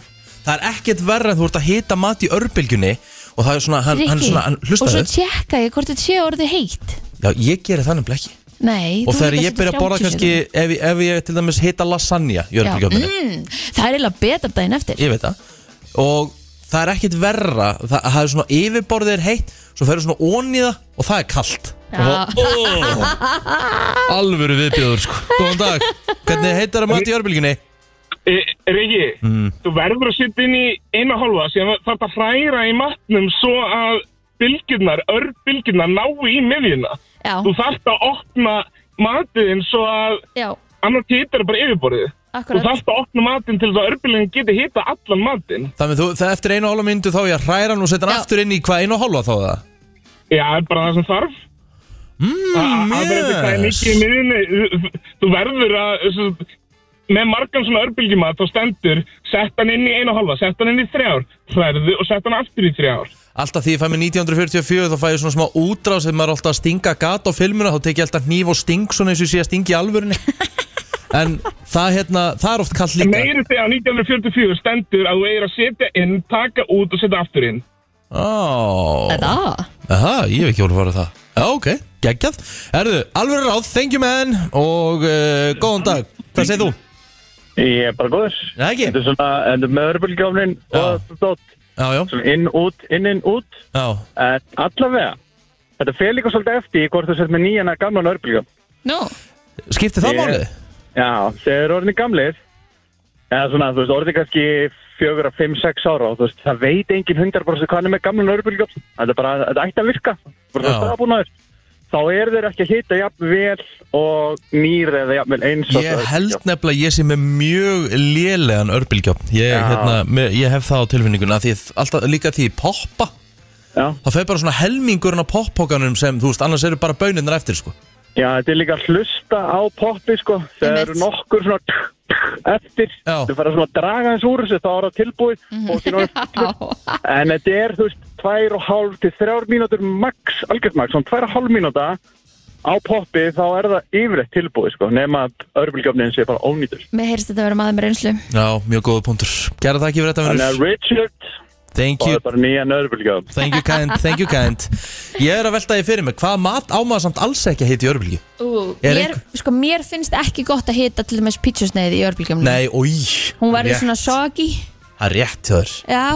Það er ekkert verra en þú ert að hita mat í örbylgjunni Og það er svona, hann, hann, Rikki, svona, hann Og svo hlustaðu tjekka ég hvort þetta sé orðið heitt Já, ég gerir það nefnilega ekki Nei, Og þú þegar líka ég setja byrja að borða 30 kannski sekúndur. ef, ég- ef ég til dæmis hita lasagna í Já, örbylgjófninu mm, Það er eiginlega betra daginn eftir Ég veit það Og það er ekkert verra Það, það er svona yfirborðið er heitt Svo ferður svona ón í það og það er kallt Já. Og það, ó, Alvöru viðbjóður sko Góðan dag, hvernig heitar að mati í Mm. örbylginni? Regi, Eh, þú verður að setja inn í eina hálfa sem þarf að hræra í matnum svo að bylgjurnar, örbylgjurnar ná í miðjuna. Þú Já, þarft að opna matiðin svo að já, annar títar bara yfirborðið. Þú akkurat þarft að opna matinn til þess að örbylgjurnar geti hita allan matinn. Þannig þú, það eftir einu og hálfa myndu þá á ég að hræra hann og setja hann Já. aftur inn í hvað einu og hálfa þá er það Já, það er bara það sem þarf. Mm, að verður þetta hvað er yes. mikið í miðjunni. Þú- Þú verður að... Þessu, með margan svona örbylgjumat þá stendur sett hann inn í eina hálfa, sett hann inn í þrjár hræðu og sett hann aftur í þrjár Alltaf því ég fæ mig 1944 þá fæ ég svona smá útrás sem maður er alltaf að stinga gat á filmuna þá tek ég alltaf hníf og sting svona eins og ég sé að stingi í alvörunni En það, hérna, það er oft kallt líka meiri þegar 1944 stendur að þú eigir að setja inn, taka út og setja aftur inn Ó. Þetta, Aha, ég hef ekki voru farið það Já, ok, geggjað Erðu, alveg ráð, thank you man Og uh, góðan dag, hvað segir þú? Ég er bara góður. Já, ekki. Þetta er svona, þetta er með örbulgjáfnin Já. og stótt, Já, já, svona inn, út, inn, inn, út. já En allavega, þetta fer líka svolítið eftir í hvort þú sett með nýjana gamlan örbulgjáfn. nú Skipti það Ég- máli? Já, þegar orðin gamlir, eða svona, þú veist, orðin kannski fjögur að fimm, sex ára og þú veist, það veit engin hundar bara hvað hann er með gamlan örbulgjáfn. Þetta er bara, þetta ætti að virka, bara Já. það staðabúnaður. Þá eru þeir ekki að hita jafn vel og nýr eða jafn vel eins og Ég held nefnilega að ég sé með mjög lélegan örbylgjófn ég, Já. hérna, mér- ég hef það á tilfinningun að því alltaf líka því ég poppa Já. Það fer bara svona helmingurinn á poppókanum sem, þú veist, annars eru bara bönirnar eftir, sko Já, þetta er líka að hlusta á poppi sko Það Einmitt. eru nokkur svona tuk, tuk, eftir Já. Þú fara svona að draga hans úr þessu þá er það tilbúið og þín orðið fullur En þetta er, þú veist, tvær og hálf til þrjár mínútur max, algjörð max Svona tvær og hálf mínúta á poppi þá er það yfirleitt tilbúið sko nema að örbulgjöfnin sé bara ónýtur Mér heyrst þetta að vera maður með reynslu Já, mjög góða punktur Gerða það ekki fyrir þetta, Þannig að vinnur Richard Thank þá you, er bara nýjan örbulgjöfn thank you kind, thank you kind Ég er að velta því fyrir mig, hvað mat á maður samt alls ekki að heita í örbylgi? Ú, Er mér, sko, mér finnst ekki gott að hita til dæmis pítsusneiði í örbílgjumni Nei, oi Hún verður svona soggy Það er rétt hjá þér Já,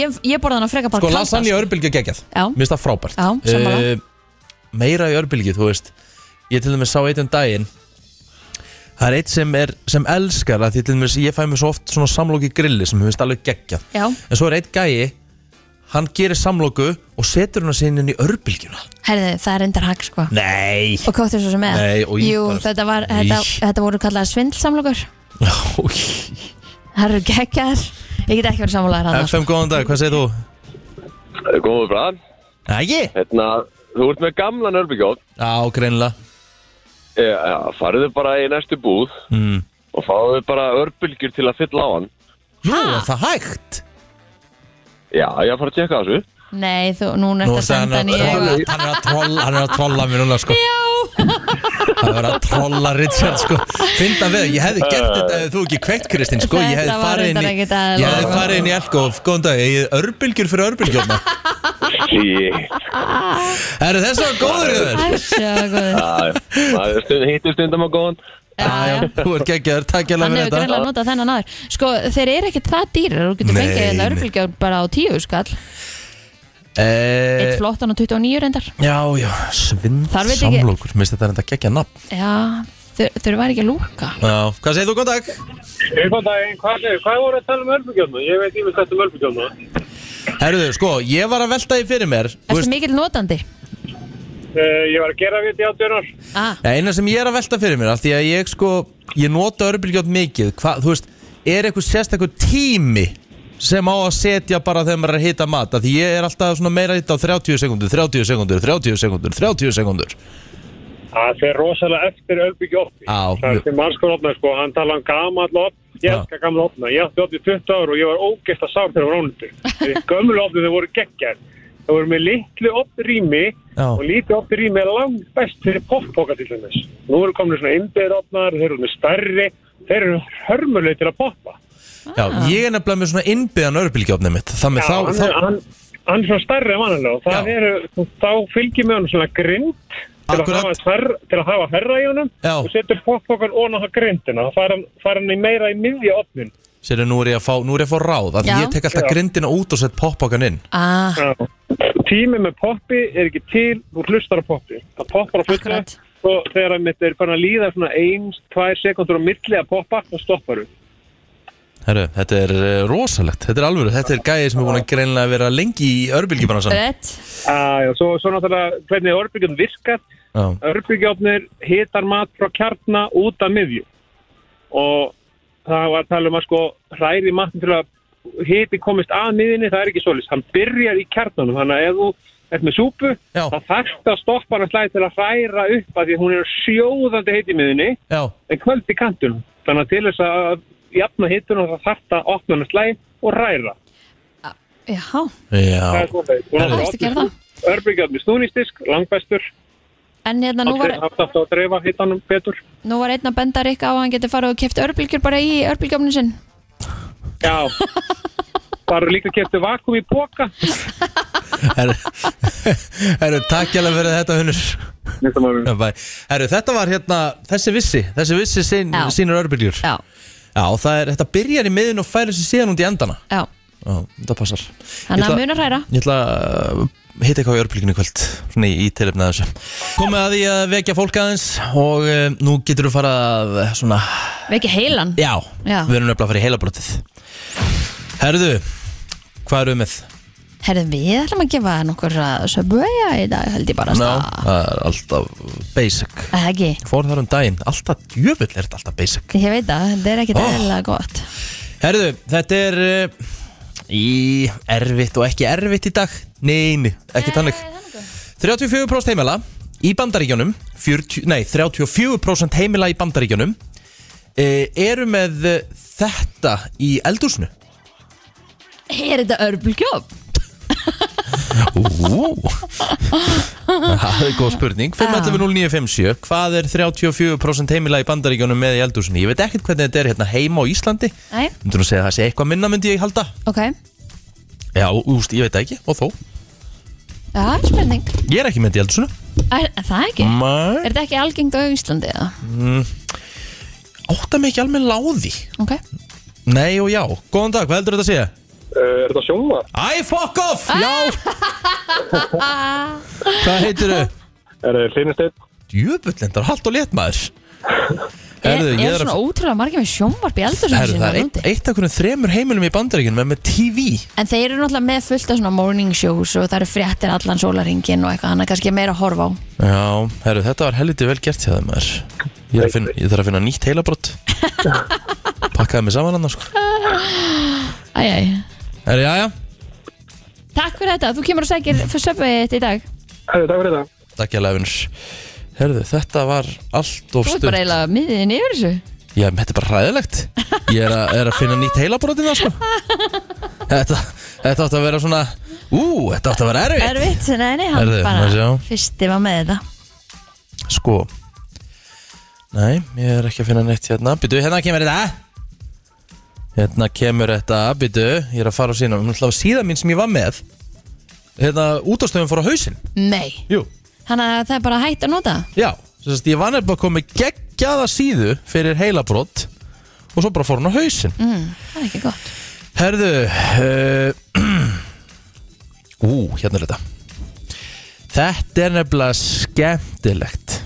ég, ég borða hann á freka bara Sko, kalda, lasagne í örbylgi er geggjað Já. Mér finnst það frábært Já, sammála. Eh, Meira í örbylgi, þú veist Ég til dæmis sá eitt um daginn Það er eitt sem, er, sem elskar að því til dæmis ég fæ mér svo oft svona samlóki grilli sem mér finnst alveg geggjað Já. En svo er eitt gæi Hann gerir samlóku og setur hann sinni inn í örbylgjuna Herðu, það er endar hagg sko Nei Og kóttir svo sem eða Nei, og ég Jú, bara- þetta, var, Í. þetta, þetta voru kallaðar svindlsamlokur Ó, Það eru geggjar Ég get ekki verið sammálaðar hann FM, góðan dag, hvað segir þú? Góður bræðan, Ægi? hérna, þú ert með gamlan örbygjóð Já, greinilega e, ja, Farðu bara í næstu búð mm. og fáðu bara örbylgjur til að fylla á hann Nú, er það hægt? Já, ég fara að tjekka á þessu Nei, þú, núna Nú ert að ertu senda hann hann í að trolla eitthvað. Hann er að trolla, hann er að trolla mér núna sko Já, Það er að trolla Richard sko Fynda við, ég hefði gert þetta ef þú ekki kveikt Kristinn sko Ég hefði Þetta var farið inn reyndar í ekkert aðeins. Ég hefði farið inn í Elkof, góðan dag Ég er örbylgjur fyrir örbylgjurna Shit, Er þess að góður í þér? það er svo góður já, maður stund- hittir stundum á góðan Já, já Þú ert geggjaður, takk ég Hann hefur fyrir þetta greinlega notað þennan aður Sko, þeir eru ekkert það dýrar Þú getur Nei, fengið þetta nei. örfylgjár bara á tíu skall Eitt Eh, flottan og 29 reyndar Já, já, svind Þar veit ég ekki- samlokur Mér finnst þetta er enda geggja nafn Já, þau þau var ekki að lúka Já, hvað segir þú, góðan dag? Hvað, hvað, hvað voru að tala um örbulgjöfnu? Ég veit ég með þetta um örbulgjöfnu Herðu, sko, ég var að velta því fyrir mér þú Ertu veist, mikill notandi? Eh, Ég var að gera við þetta í átjónar Ah, Nei, eina sem ég er að velta fyrir mér, af því að ég sko, ég nota örbylgjótt mikið, hva, þú veist, er eitthvað sérstakur tími sem á að setja bara þegar maður er að hita mat, af því ég er alltaf svona meira að hita á 30 sekundur, 30 sekundur, 30 sekundur, 30 sekundur. Það fer rosalega eftir Ölbyggi opni. Á, Það mjög. er sem mannskóla opna, sko, hann tala um gamall opn, ég Já. elska gamall opna. Ég átti opni 20 ár og ég var ógeðsla sár þegar hún ránundi. Þessi gömul opni þau voru geggjar. Það voru með litlu opni rými Já. og lítið opni rými er langt best fyrir poppoka til dæmis. Nú eru komin svona innbyggð opnar, þeir eru með stærri, þeir eru hörmuleg til að poppa. Já, ég er nefnilega með svona innbyðan örbylgjóttnið mitt, þannig Já, þá, hann, er, þá, hann, hann er svona stærri en vanalega og það Já. eru, þá fylgir með hann svona grind til að, Akkurat. hafa, fer- til að hafa ferra í honum Já. og setur poppokan ón á það grindina þá fara hann, fær hann í meira í miðja opnin sér nú er ég að fá, nú er ég að fá ráð, af því Já. ég tek alltaf Já. grindina út og sett poppokan inn. ah, tími með poppi er ekki til þú hlustar á poppi það poppar á fulla Akkurat. og þegar hann mitt er farin að líða svona eins, tvær sekundur á milli að poppa þá stoppar þú Herru, þetta er eh, rosalegt, þetta er alvöru, þetta er gæði sem er búin að greinlega vera lengi í örbylgjubransan. Rett Já, svo, svo náttúrulega hvernig örbyggjum virkar Já, örbyggjofnir hitar mat frá kjarna út af miðju og það var að tala um að sko hræri matn til að hiti komist að miðjunni, það er ekki svolítið hann byrjar í kjarnanum, þannig að ef þú ert með súpu, Já. þá þarfst að stoppa hann slæði til að hræra upp að því að hún er sjóðandi heiti í miðjunni já, en kvöld í kantunum, þannig að til þess að jafna hituna þá þarfst að opna hann slæði og hræra Já, það er já. svoleiðis. Og Það náttúrulega varstu að gera það. opna- örbylgjuofn í snúningsdisk, langbæstur en hérna nú var, haft aftur að dreifa hitanum betur nú var einn að benda Rikka á að hann geti farið og keft örbylgjur bara í örbylgjöfnum sinn Já Bara líka keftu vakum í boka Herru, herru, takk hjálpa fyrir þetta hunnur Þetta Já, bæ. Herru, þetta var hérna, þessi vissi Þessi vissi sín, Já. sínur örbyljur Já, Já, það er, þetta byrjar í miðun og færir sér síðan út í endana já, Já, þetta passar þannig að Ég ætla- munar hræra Ég ætla að hitta eitthvað í örbylginu í kvöld Svona í, í tilefna þessu Komið að því að vekja fólk aðeins Og e, nú getur þú fara að eh, svona Við ekki heilan Já, Já. við erum nefnilega að fara í heilabrotið Herðu, hvað eru við með? Herðu, við ætlum að gefa nokkur að söböja í dag, held ég bara Ná, að staða. það er alltaf basic Er það ekki, Ég fór þar um daginn, alltaf djöfull er þetta alltaf basic ég veit að þetta er ekkit Ó. eðlilega gott eh, Herðu, þetta er uh, í erfitt og ekki erfitt í dag nei, nei, ekki þannig 34% heimila í bandaríkjunum 40, Nei, 34% heimila í bandaríkjunum e, Eru með eh, þetta í eldúsinu Er þetta örbulgjóp? Ú, Það er góð spurning 512957, hvað er 34% heimila í bandaríkjunum með í eldúsinu? Ég veit ekkert hvernig þetta er hérna heima á Íslandi Nei, Myndur þú segja að það sé eitthvað minna myndi ég halda? ok Já, úst, ég veit það ekki, og þó Já, spurning Ég er ekki með þetta í eldúsinu Er er það ekki? Mæ Er þetta ekki algengt á Íslandi? eða? Mm, Átta mig ekki alveg láði Ok Nei og já, góðan dag, hvað heldur þetta að segja? Eh, Er þetta sjóma? Æ, fuck off, já Hvað heitir þau? Er þetta hlinnisteyt? Djöfullendar, haldt og létt maður Er, Herðu, ég er er að- svona ótrúlega margir með sjónvarp í eldur Herru, það er eitt, eitt af hvernig þremur heimilum í bandaríkjunum er með TV En þeir eru náttúrulega með fullt af svona morning shows og það eru fréttir allan sólaringin og eitthvað annað kannski meira að horfa á Já, herru, þetta var helviti vel gert hjá þeim maður Ég, er að finna, ég þarf að finna nýtt heilabrott Pakkaði mig saman annars sko. Æjæj Herru, já, já, Takk fyrir þetta, þú kemur og sækir fyrir söpvið þetta í dag Herri, takk fyrir þetta. takk ég lefinur Herru, þetta var allt of Þú ert bara stutt eiginlega miðin yfir þessu Já, þetta er bara hræðilegt Ég er, a, er að finna nýtt heilabrótin það sko Þetta, þetta átti að vera svona Ú, þetta átti að vera erfitt Erfitt, nei, nei, hann Herðu, bara má sjá. fyrsti var með þetta Sko Nei, ég er ekki að finna neitt hérna Byttu, hérna kemur þetta Hérna kemur þetta, byttu Ég er að fara á sína, hún ætlaði síðan mín sem ég var með Hérna, útastöfum fór á hausinn Nei, Jú þannig að það er bara hægt að nota Já, sem sagt, ég var nefnilega að koma með geggjaða síðu fyrir heilabrót Og svo bara fór hún á hausinn mm, Það er ekki gott Herðu uh, Ú, hérna er þetta Þetta er nefnilega skemmtilegt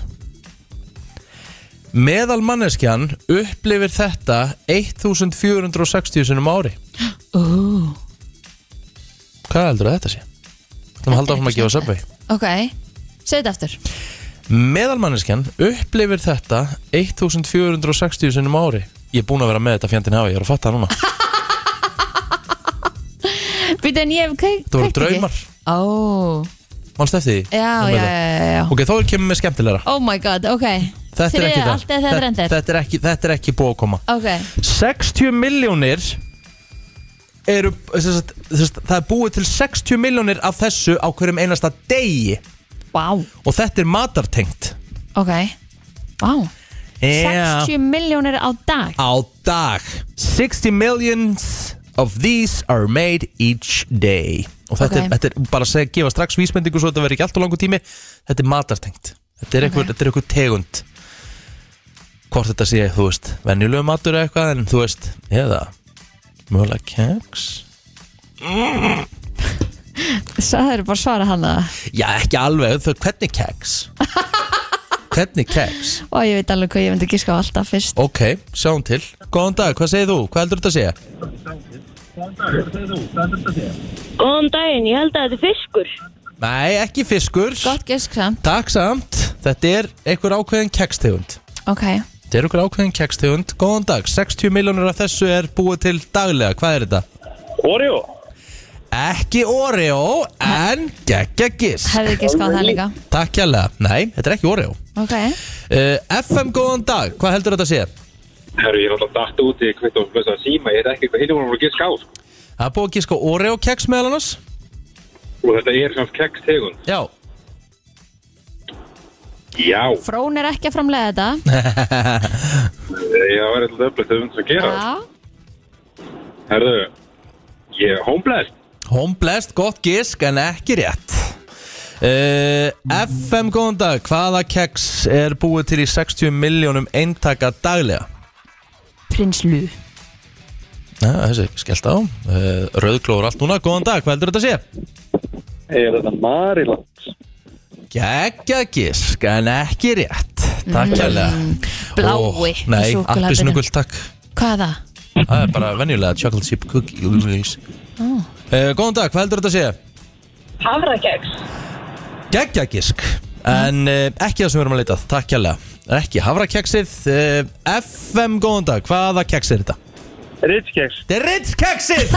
Meðal manneskjan upplifir þetta 1460 sinnum á ári Ú, Hvað heldur þetta sé? Það maður halda áfram að gefa söpvei Ok, segðu þetta aftur Meðal manneskjan upplifir þetta 1460 sinnum á ári Ég er búinn að vera með þetta fjandinn hafi, ég er að fatta það núna Býtu en ég hef kveik- Þetta voru kveikt ekki. draumar, Ó, mannst eftir því? já, Ég já, með það. já, já Ok, þá er kemur með skemmtilegra Oh my god, ok Þetta er Þriðja, ekki það allt eða þetta er Þetta- endir. Þetta er ekki, þetta er ekki búið að koma Ok, 60 miljónir eru, sem sagt, sem sagt, það er búið til 60 miljónir af þessu á hverjum einasta degi wow, og þetta er matartengt ok Wow, Yeah. 60 miljónir á dag á dag 60 millions of these are made each day og þetta, Ok. er, þetta er bara að segja, gefa strax vísbendingu svo þetta verður ekki allt og langu tími þetta er matartengt þetta er einhver, Ok. þetta er einhver tegund hvort þetta sé, þú veist venjulegu matur eða eitthvað en þú veist eða mögulega keks Það eru bara að svara hann að já ekki alveg, þau hvernig keks hvernig keks Og ég veit alveg hvað ég myndi gíska á alltaf fyrst ok, sjáum til, góðan dag, hvað segir þú hvað heldur þetta að segja? Góðan daginn, ég held að þetta er fiskur. nei, ekki fiskur Gott gísk samt, Takk samt, þetta er einhver ákveðin kekstegund ok Þetta er einhver ákveðin kekstegund Góðan dag, 60 miljónur af þessu er búið til daglega Hvað er þetta? Oreo. Ekki Oreo, en geggja gisk Hefði gískað á það líka Takk kjærlega, nei, þetta er ekki Oreo Ok, uh, FM, góðan dag, hvað heldur þetta að sé? Herri, ég er alltaf dætt úti, hvitt og blöðs að síma, ég veit ekki hvað hittum hún að giska á. sko. Það er búið að giska á Oreo keks meðal annars Og þetta er samt keks tegund. Já, Já, Frón er ekki að framlega þetta ég var alltaf öflögt um þess að gera. Já, Herðu, ég er homeblessed. home blessed, gott gisk, en ekki rétt Uh, FM, góðan dag, hvaða keks er búið til í 60 miljónum eintaka daglega? prins Lú Já, þessi, skellt á Eh, Rauðklóður allt núna, góðan dag, hvað heldur þetta að sé? Er þetta Mariland? Gekka gísk, en ekki rétt Takk hérlega Mm, blái Ó, í Nei, súkkulaðinu. appisnugul, takk Hvað er það? Það er bara venjulega chocolate chip cookies uh, Góðan dag, hvað heldur þetta að sé? Hafrakeks. Gekka gísk En uh, ekki það sem við erum að leita, að, eh, takk hérlega Ekki hafrakeksið uh, FM, góðan dag, hvaða keks er þetta? Ritskeks Þetta er Ritz-keksið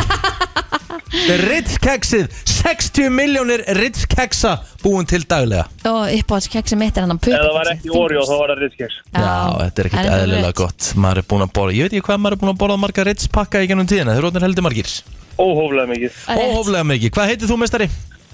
Þetta er Ritz-keksið 60 miljónir Ritz-keksa búin til daglega og uppáhaldskeksi mitt er hann að pupa Ef það var ekki Oreo þá var það ritskeks Já, þetta er ekkert það eðlilega rétt. gott Maður er búin að borða, ég veit ekki hvað maður er búin að borða marga Ritz pakka í gennum tíðina, þeir eru orðnir heldur margir Óhóflega mikið Það er rétt. Óhóflega mikið, hvað heitir þú meistari?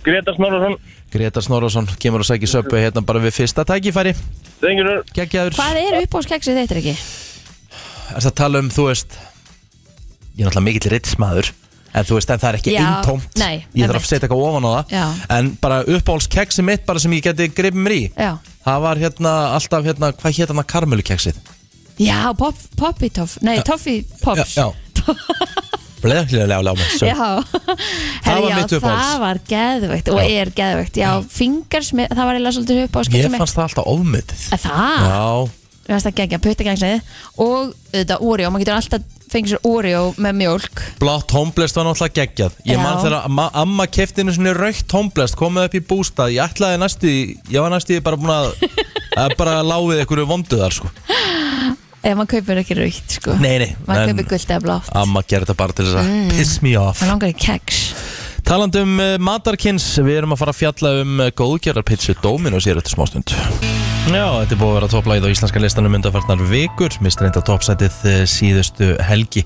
Greta Snorrason Gretar Snorrason, kemur og sækir söpbu hérna bara við fyrsta tækifæri Þengjur er Gekkjaður, Hvað er uppáhaldskeksið þetta ekki? er það að tala um, þú veist Ég er náttúrulega mikill Ritz maður En þú veist, en það er ekki Já, eintómt nei, Ég þarf einmitt. að setja eitthvað ofan á það Já. En bara uppáhaldskeksi mitt bara sem ég geti gripið mér í Já, Það var hérna alltaf hérna, hvað hétt hérna karmelukeksið? já pop, Poppy Toff Nei, Toffy Pops Já, já. Bleðarkilega lág með Já, sög. Herri, var já, mitt uppáhalds. það var geðveikt og Já. er geðveikt Já, fingers, það var eiginlega svolítið uppáhaldskeksi Mér mitt fannst það alltaf ofmyndið. Að Það, Já, við fannst það gegja puttakeksið og þetta Oreo, maður getur alltaf fengið sér Oreo með mjólk blátt homblest var náttúrulega geggjað. Ég Já. man þegar amma, amma keftinu svona raukt homblest, komið upp í bústað, ég ætlaði næstu, í- ég var næstu í bara búin að, að bara láfið einhverju vondu þar sko. Ef maður kaupir ekki raukt, sko Nei, nei, Maður en- Ah, kaupir gult eða blátt Amma gerði þetta bara til þess að Mm. piss me off. Maður langar í keks Talandi um uh, matarkins, við erum að fara að fjalla um uh, góðgerðarpitsu Dominos hér eftir smástund. Já, þetta er búið að vera topplægið á íslenska listanum undanfarnar vikur, mist reynda toppsætið uh, síðustu helgi.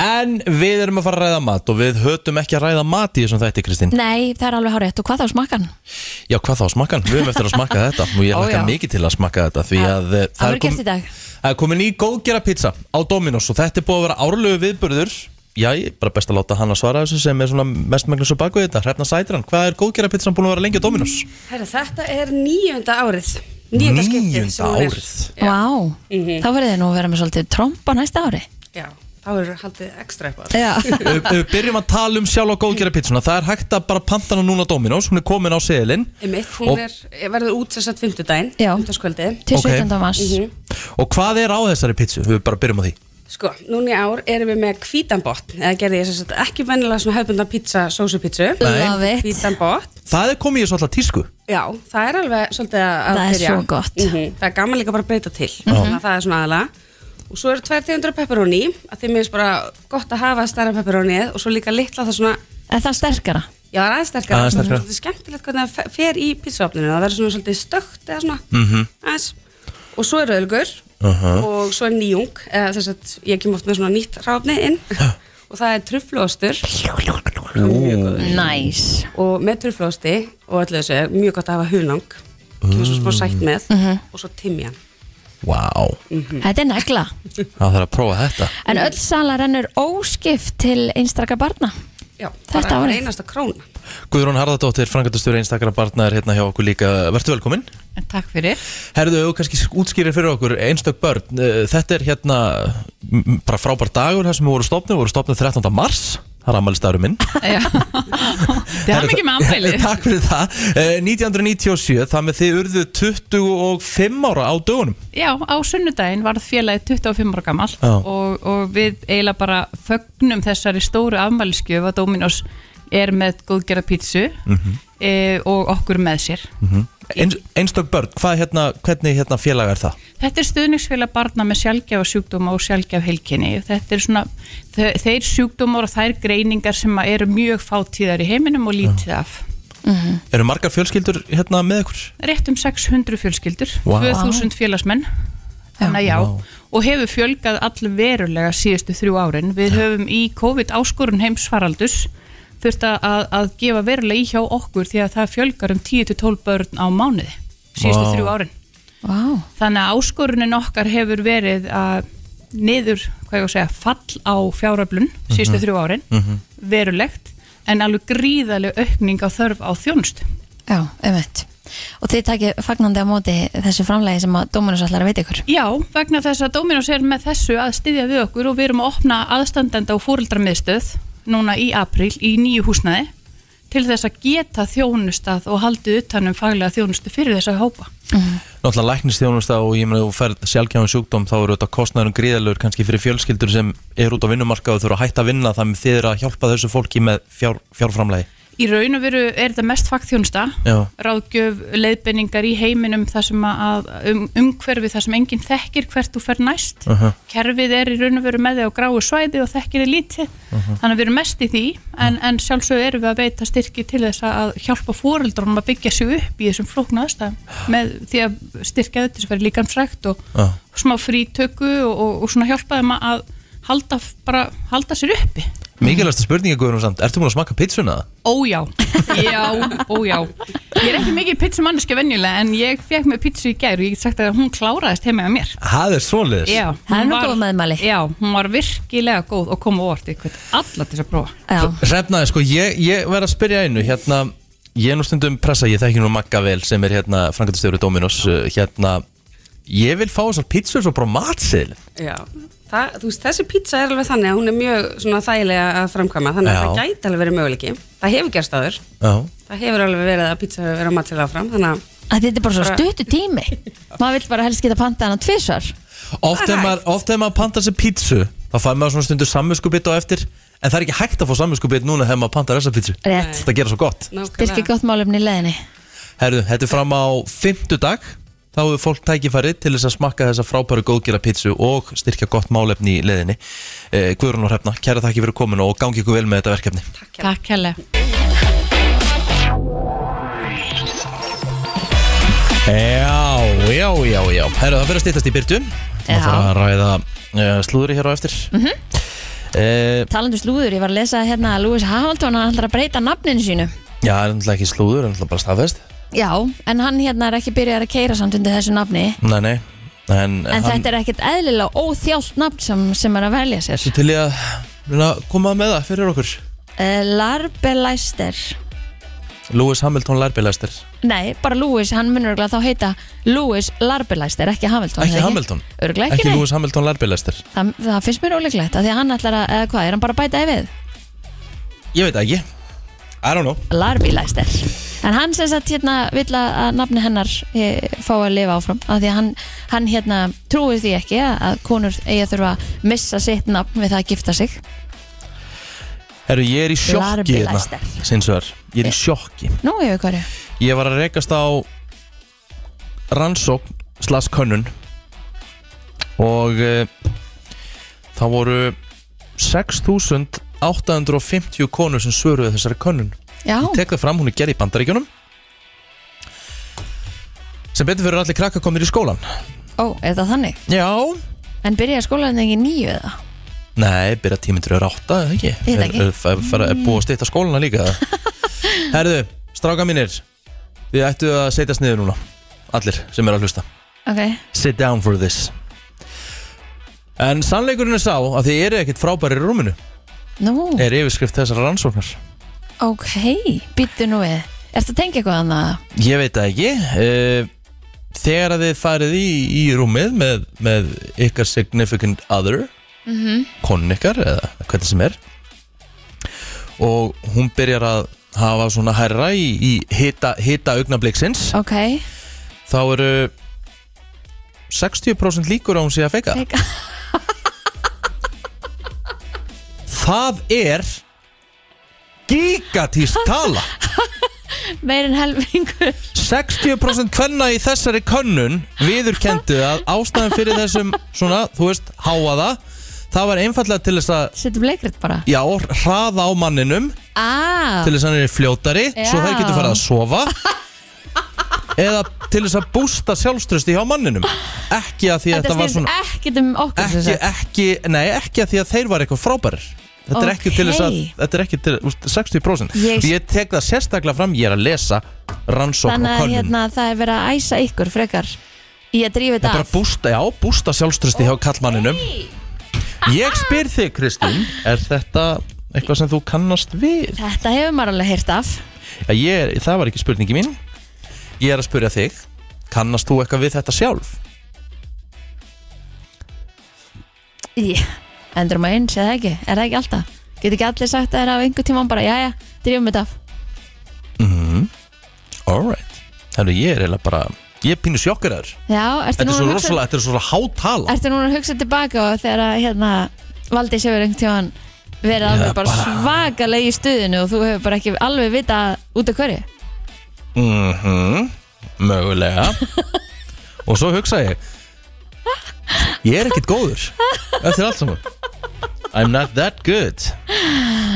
En við erum að fara að ræða mat og við hötum ekki að ræða mat í þessum þætti, Kristín. Nei, það er alveg hárétt og hvað þá smakkan? Já, hvað þá smakkan? Við höfum eftir að smakka þetta og ég Ó, hlakka já. mikið til að smakka þetta því Já, að uh, það verður er kom- gert í dag. það er komin í góðgerðarpitsa á Dominos og þetta er búið að vera árlegu viðburður. Já, ég er bara best að láta hann að svara þessu sem er svona mestmægnus og bakvið þetta. Hrefna Sætran, hvað er góðgerðarpitsan búin að vera lengi á Dominos? Herra, þetta er nýjönda árið. Níunda skiptið sem hún er. Vá, þá verður þið nú að vera með svolítið tromba næsta ári Já, þá er haldið ekstra upp á það. Já, Ef- ef Við byrjum að tala um sjálf á góðgera pizzuna Það er hægt að bara panta hana núna á Dominos Hún er komin á seðilinn Emitt, Og- hún er, verður út þess að fimmtudaginn, Já. fimmtudagskvöldið. Mhm. til Ok. 17. mars Og hvað er á þessari pizzu? Við bara byrjum á því Sko, núna í ár erum við með hvítanbott, eða gerði ég þess að ekki vennilega svona hefbundan pizza, sósupizzu. Nei. Love it Hvítanbott, Það er komið í svo alltaf tísku já, það er alveg svolítið að Það er byrja. svo gott. Mhm. Mhm, Það er gaman líka bara að breyta til, þannig að það er svona aðalega. Og svo eru tvær tegundur af pepperoni, að því mér finnst bara gott að hafa stærra pepperonið og svo líka litla það svona Er það sterkara? Já, það er aðeins sterkara. Aðeins sterkara. Það er skemmtilegt hvernig það fe- fer í pizzaofninu. Það verður svona svolítið stökt eða svona. Mm -hmm. aðeins. Og svo er öðlugur og svo er nýjung. Eða, þess að ég kem oft með svona nýtt ráfni inn. og það er truflóstur Næs og með truflósti og öllu þessu er mjög gott að hafa hunang. Kemur svo smá sætt með og svo Mhm. timjan. Vá, Mhm. Þetta er negla það þarf að prófa þetta En öll sala rennur óskipt til einstraka barna Já, Þetta bara árið. einasta króna. Guðrún Harðardóttir, frangatastjóri einstakara barna er hérna hjá okkur líka Vertu velkomin Takk fyrir. Herðu, ef þú kannski útskýrir fyrir okkur einstök börn eh, Þetta er hérna m- bara frábær dagur þar sem við vorum stopnið Við vorum stopnið 13. mars Það er ammælistarum minn Já. Þið hafum ekki með Eh, amfælið. Takk fyrir það Eh, 1997, það með þið urðu 25 ára á dögunum Já, á sunnudaginn varð félagið 25 ára gamalt Já. og, og við eiginlega bara fögnum þessari stóru afmælisgjöf að Dominos er með góðgerða pítsu Mhm, e, og okkur með sér. Ein, Einstök börn, hvað hérna, hvernig hérna félag er það? Þetta er stuðningsfélag barna með sjálfgjafa sjúkdóma og sjálfgjaf heilkenni. Þetta er svona þe þeir sjúkdómar og þær greiningar sem að eru mjög fátíðar í heiminum og lítið af. Mm. Eru margar fjölskyldur hérna með ykkur? rétt um 600 fjölskyldur, Vá. 2000 félagsmenn þannig að já, og hefur fjölgað allverulega síðustu þrjú árin við höfum í COVID áskorun heimsfaraldurs þurft að, að- að gefa verulega í hjá okkur því að það fjölgar um 10-12 börn á mánuði síðustu Vá. þrjú árin Vá, þannig að áskorunin okkar hefur verið að niður, hvað ég á að segja, fall á fjáröflun síðustu Mhm. þrjú árin, verulegt en alveg gríðaleg aukning á þörf á þjónustu já, einmitt Og þið takið fagnandi á móti þessu framlegi sem að Dóminus ætlar að veita ykkur Já, vegna þess að Dominos er með þessu að styðja við okkur og við erum að opna aðstandenda og fóreldramiðstöð núna í apríl í nýju húsnaði til þess að geta þjónustað og haldið utanum faglega þjónustu fyrir þess að hópa. Náttúrulega læknistjónusta og ég meina ef þú ferð sjálfgjafan sjúkdóm þá eru þetta kostnæðurum gríðalur kannski fyrir fjölskyldur sem eru út á vinnumarka og þurfa að hætta að vinna þannig þið eru að hjálpa þessu fólki með fjár, fjárframlegi í raun og veru er þetta mest fagþjónusta Já. ráðgjöf, leiðbeiningar í heiminum þar sem að, um, umhverfi þar sem enginn þekkir hvert þú fer næst Aha. kerfið er í raun og veru með þig á gráu svæði og þekkir þig lítið Aha. þannig að við erum mest í því en, en sjálfsög erum við að beita styrki til þess að hjálpa fóreldrunum að byggja sig upp í þessum flóknaðstæðum með því að styrkja þetta sem verður líkansrækt og Já. smá frítöku og, og, og svona hjálpa þeim að halda, bara, halda sér uppi Mikilvægsta spurninga Guðrún samt, ertu múin að smaka pizzuna? Ójá, já, ójá Ég er ekki mikið pizzamanniski venjulega En ég fekk með pizzu í gær Og ég get sagt að hún kláraðist heima hjá mér Það er svoleiðis Já, Það er hún nú var- góð meðmæli. Já, hún var virkilega góð og kom á orð ykkur Alla til þess að prófa Já, Hrefnaði, sko, ég, ég verð að spyrja einu hérna, ég er nú stundum pressa, ég þekki nú Magga vel sem er hérna, frangatistjóri Dominos uh, hérna, ég vil fá þessar pizzur svo bara á matseðil Já, það, þú veist, þessi pizza er alveg þannig að hún er mjög svona þægilega að framkvæma þannig að Já. það gæti alveg verið möguleiki það hefur gerst áður, Já, það hefur alveg verið að pizza hefur verið að matsilega fram þannig að að þetta er bara svo stuttu tími maður vill bara helst geta pantað hann á tvisvar oft ef maður, oft ef maður pantar sér pizzu þá fær maður svona stundur samvinskubit á eftir en það er ekki hægt að fá samvinskubit núna þegar maður pantar þessa pizzu Rétt. það gera svo gott styrki nákvæmlega gott málefni í leðinni Herðu, þetta er fram á fimmtudag þá hefur fólk tækifæri til þess að smakka þessa frábæru góðgera pítsu og styrkja gott málefni í leðinni eh, Guðrún og Hrefna, kæra takk fyrir komin og gangi ykkur vel með þetta verkefni Takk hella Já, já, já, já Herðu, það fyrir að stýttast í byrtu Já. Mhm. og fara að ræða uh, slúðri hér á eftir Eh, mm talandu slúður, ég var að lesa hérna að Lewis Hamilton hann ætlar að breyta nafninu sínu Já, það er náttúrulega ekki slúður, það er náttúrulega bara staðfest já, en hann hérna er ekki byrjað að keira samt undir þessu nafni Nei, nei En, en þetta er ekkert eðlilega óþjált nafn sem, sem er að velja sér Svo til ég að reyna að koma með það fyrir okkur uh, Larbelæster Lewis Hamilton lærbilæstir nei, bara Lewis, hann munur örgulega þá heita Lewis Larbelæster, ekki Hamilton Ekki Hamilton örgulega ekki, Ekki nei Lewis Hamilton lærbilæstir það, það finnst mér óleiklegt, af því að hann ætlar að, eða hvað, er hann bara að bæta því við? Ég veit það ekki I don't know Larbi Læster en hann sem sagt hérna vill að að nafni hennar eh, fá að lifa áfram af því að hann, hann hérna trúir því ekki að að konur eigi að þurfa að missa sitt nafn við það að gifta sig Herru, ég er í sjokki Larbi hérna Lester. Sinsuðar, ég er í sjokki nú yfir hverju Ég var að rekast á rannsókn slags könnun og e, það voru 6.850 konur sem svöruðu þessari könnun já, Ég tek það fram, hún er gerð í bandaríkjunum sem betur fyrir allir krakka komnir í skólan ó, er það þannig Já en byrja skólan ekki nýju eða Nei, byrja tímyndur er átta, eða ekki? Ég veit ekki. Er, er, er, er búið að stýta skólana líka? eða? Herðu, stráka mínir Þið ættu að setjast niður núna Allir sem eru að hlusta ok, Sit down for this En sannleikurinn er sá að þið eru ekkert frábæri í rúminu nú, Er yfirskrift þessar rannsóknar ok býttu nú við, ertu að tengja eitthvað annað Ég veit það ekki eh, Þegar að þið farið í, í rúmið með, með ykkar significant other mm ykkar eða hvernig sem er og hún byrjar að hafa svona herra í, í hita, hita augnabliksins ok, þá eru 60% líkur á hún sé að feika Feika. Það er gigatís tala meirinn helmingur 60% kvenna í þessari könnun viðurkendu að ástæðan fyrir þessum svona, þú veist, háaða það var einfallega til þess að setjum leikrit bara já, hraða á manninum ah, til þess að hann er fljótari svo þær getur farið að sofa eða til þess að bústa sjálfströsti hjá manninum ekki að því þetta að þetta var snýst svona ekkert um okkur sem ekki, sagt. ekki, nei, ekki að því að þeir var eitthvað frábærir Þetta er ekki Ókei. til þess að, þetta er ekki til, úst, 60% Ég- ég, ég tek það sérstaklega fram, ég er að lesa rannsókn og þannig að könnun hérna, það er verið að æsa ykkur frekar í að drífa Það þetta er bara af bústa, já, bústa sjálfströsti hjá kallmanninum Ég spyr þig, Kristín Er þetta eitthvað sem þú kannast við? þetta hefur maður alveg heyrt af Já, ég, það var ekki spurningi mín Ég er að spyrja þig Kannast þú eitthvað við þetta sjálf? yeah. endur maður eins eða ekki, er það ekki alltaf getur ekki allir sagt að það er af einhver tíma bara, jæja, drífum þetta af Mhm. Alright Þannig ég er eiginlega bara Ég er pínu sjokkeraður já, ertu Þetta er svo núna, hugsa, rosalega, þetta er svo hátala ertu núna að hugsa tilbaka og þegar að hérna, Valdís hefur einhvern tíma verið alveg Já, bara bara- svakalega í stuðinu og þú hefur bara ekki alveg vita út af hverju Mhm, mögulega Og svo hugsa ég Ég er ekkert góður Eftir allt saman I'm not that good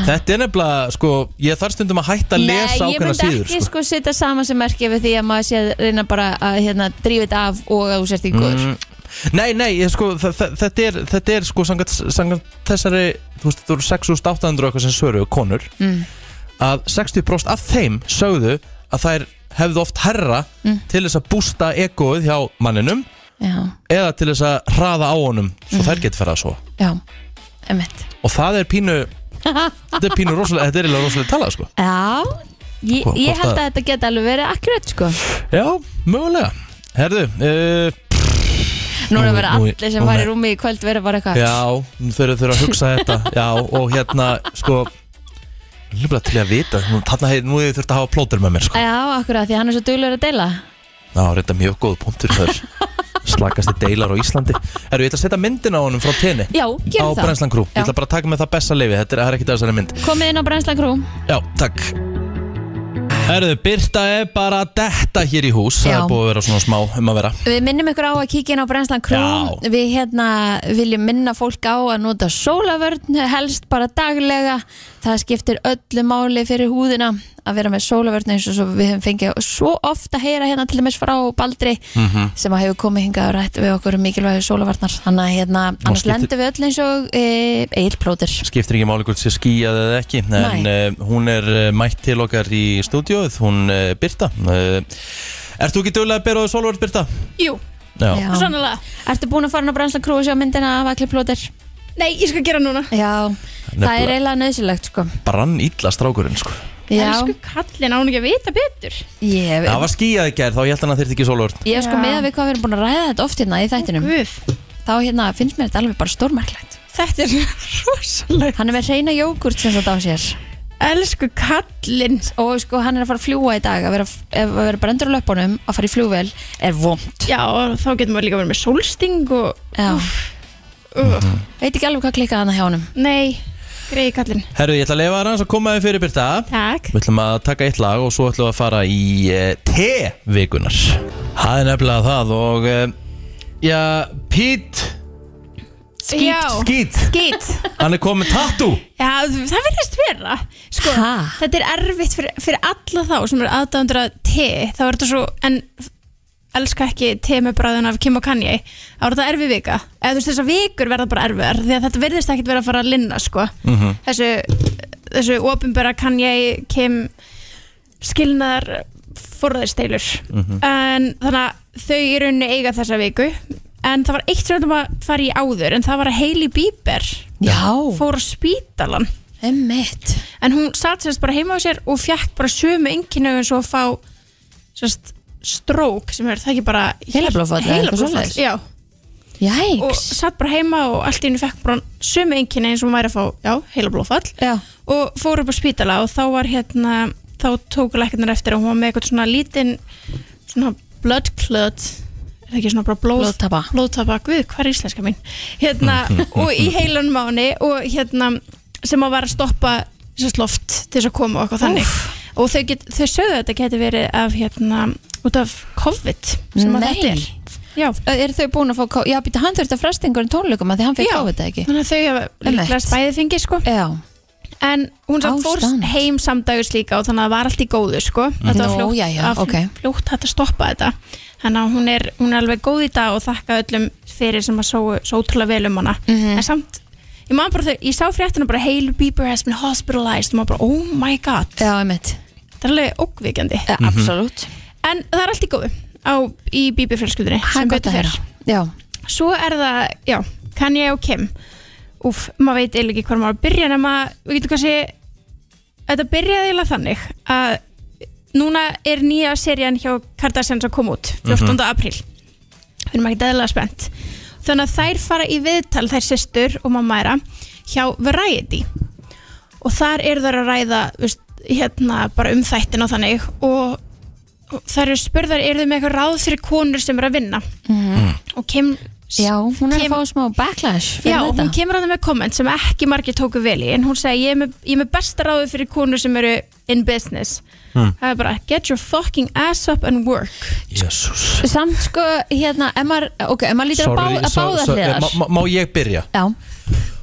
Þetta er nefnilega, sko Ég þarf stundum að hætta að Nei, lesa ég ákveðna myndi síður ekki sko setja saman sem merki yfir því að maður sé að reyna bara að hérna, drífa þetta af og að þú sért ekki góður Mm, Nei, nei, ég, sko, þa- þa- þetta er, þetta er sko sangat, sangat þessari, þú veist, þú eru 6800 og eitthvað sem svöru konur Mm. að 60% af þeim sögðu að þær hefðu oft herra Mm. til þess að bústa egoið hjá manninum Já, eða til þess að hraða á honum Mhm. svo þær getur ferða svo já, emmitt og það er pínu, þetta er pínu rosalega, þetta er eiginlega rosalega talað sko Já, ég, Hvort- ég hvort held að- að þetta geti alveg verið akkurat sko Já, mögulega, herðu, uh, Núna Nú- verið nú- allir sem nú- var í rúmi í kvöld verið bara eitthvað Já, þau eru þau eru að hugsa þetta Já, og hérna, sko Líflega til ég að vita Nú- Þarna hef, nú hefur þurft að hafa plótur með mér, sko Já, akkurat, því að hann er svo duglur að deila Já, reynda mjög góð punktur þar Slakasti deilar á Íslandi Erum við ætla að setja myndin á honum frá tenni Já, Á gerum það Brænslan Krú, ég Já. ætla bara að taka með það besta leifi Þetta er, það er ekki þessari mynd Komið inn á Brænslan Krú Já, takk Herðu, Birta er bara að detta hér í hús Það Já. er búið að vera svona smá um að vera Við minnum ykkur á að kíkja inn á Brænslan Krú Já. Við hérna viljum minna fólk á að nota sólavörn helst bara daglega Það skiptir öllu máli fyrir húðina að vera með sólavörn eins og svo við höfum fengið svo oft að heyra hérna til dæmis frá Baldri Mhm. sem að hefur komið hingað og rætt við okkur um mikilvægi sólavarnar Þannig að hérna, annars skiptir- lendum við öll eins og e, eilplótir skiptir ekki máli hvort sé skíjað eða ekki en uh, hún er uh, mætt til okkar í stúdíóið, hún uh, Birta uh, Ert þú ekki dögulega að bera á því solvörð Birta? Jú, Já, sannlega Ertu búin að fara inn á Brænslan Krú og sjá myndina af allir plótir? Nei, ég skal gera núna Já, það Nefnilega. er eiginlega nöðsilegt sko brann illa strákurinn sko Já, Elsku kallin, á hún ekki að vita betur ég, Það var skíjað í gær þá ég held hann að þyrfti ekki solvörð Ég sko Já. með að við hvað við erum búin að ræða þetta oft hérna í þættinum Guð, þá hérna finnst mér þetta alveg bara stórmerklegt þetta er rosalega Hann er með reyna jógurt sem þetta á sér Elsku kallin og sko hann er að fara að fljúa í dag að vera, ef að vera brendur á löpunum að fara í fljúvel er vond Já, þá getur maður líka verið með sólsting og Já, uh, Mm. veit ekki alveg hvað klikkaði hann hjá honum Nei, greiði kallin Herru, ég ætla að leifa hans að koma þér fyrir Birta Takk Við ætlum að taka eitt lag og svo ætlum við að fara í uh, T-vikunar Það er nefnilega það og uh, Já, Pít Já, Skít, skýt hann er komið tattoo Já, það verðist vera sko, Ha? Þetta er erfitt fyrir, fyrir alla þá sem eru aðdæðandra te þá er þetta svo, en elska ekki te með bræðun af Kim og Kanye þá er þetta erfið vika eða þú veist þessar vikur verða bara erfiðar því að þetta verðist ekkit vera að fara að linna sko. Mhm. þessu, þessu opinbera Kanye, Kim skilnaðar forðisteilur en þannig að þau í rauninni eiga þessa viku en það var eitt sem þetta var að fara í áður en það var að Hailey Bieber Já, fór á spítalan emmitt en hún satt sérst bara heima á sér og fjakk bara sömu enginau eins og að fá sérst strók sem er það ekki bara Heilablóðfall eða eitthvað svoleiðis? heilablóðfall, já og Jæks satt bara heima og allt í henni fekk bara sömu enginau eins og hún væri að fá, já, heilablóðfall Já, og fór upp á spítala og þá var hérna þá tók læknar eftir að hún var með eitthvað svona lítinn svona blood clot er það ekki svona bara blóð blóðtapa blóðtapa, guð, hvað er íslenska mín hérna, og í heilan mánu og hérna, sem að var að stoppa sérst loft til þess að koma og eitthvað þannig og þau, get, þau sögðu að þetta geti verið af hérna, út af COVID sem að Nei. þetta er Já, Ö, Eru þau búin að fá, kó- já býta hann þurfti að fresta einhverjum tónleikum að því hann fekk Já. COVID ekki þannig að þau hafa Einmitt. líklega spæðið fengið sko Já, en hún samt fór Ástand. heim samdagus líka og þannig að það var allt í góðu sko þetta var Mhm. Nú, fljótt, jæja, að- ok. fljótt hægt að stoppa þetta þannig að hún er, hún er alveg góð í dag og þakka öllum fyrir sem að sóu svo ótrúlega vel um hana Mhm. en samt, ég man bara þau, ég sá fréttina bara Hailey Bieber has been hospitalized og maður bara oh my god, já emmitt það er alveg ókvikjandi Absolutt en það er allt í góðu á, í Bieber fjölskyldunni Það sem er gott að betur fer heyra Já, svo er það, já, Kanye og Kim Úf, maður veit eiginlega ekki hvað maður á að byrja nema, við getum kannski þetta byrjaði eiginlega þannig að núna er nýja serían hjá Kardashians að koma út 14. Mm apríl við erum ekki eðlilega spennt þannig að þær fara í viðtal, þær systur og mamma era hjá Variety og þar eru þær að ræða veist, hérna bara um þættin og þannig og Mhm. og þær eru spurðar, eru þau með eitthvað ráð fyrir konur sem eru að vinna og Kim Já, hún er að fá smá backlash fyrir Já, þetta. hún kemur að það með komment sem ekki margir tóku vel í en hún segi, ég er með, ég er með besta ráðu fyrir konur sem eru in business Mm. það er bara, get your fucking ass up and work Jésús Samt sko, hérna, ef maður, ok, ef maður lítur að bá, að báða hliðar. má, má ég byrja? Já.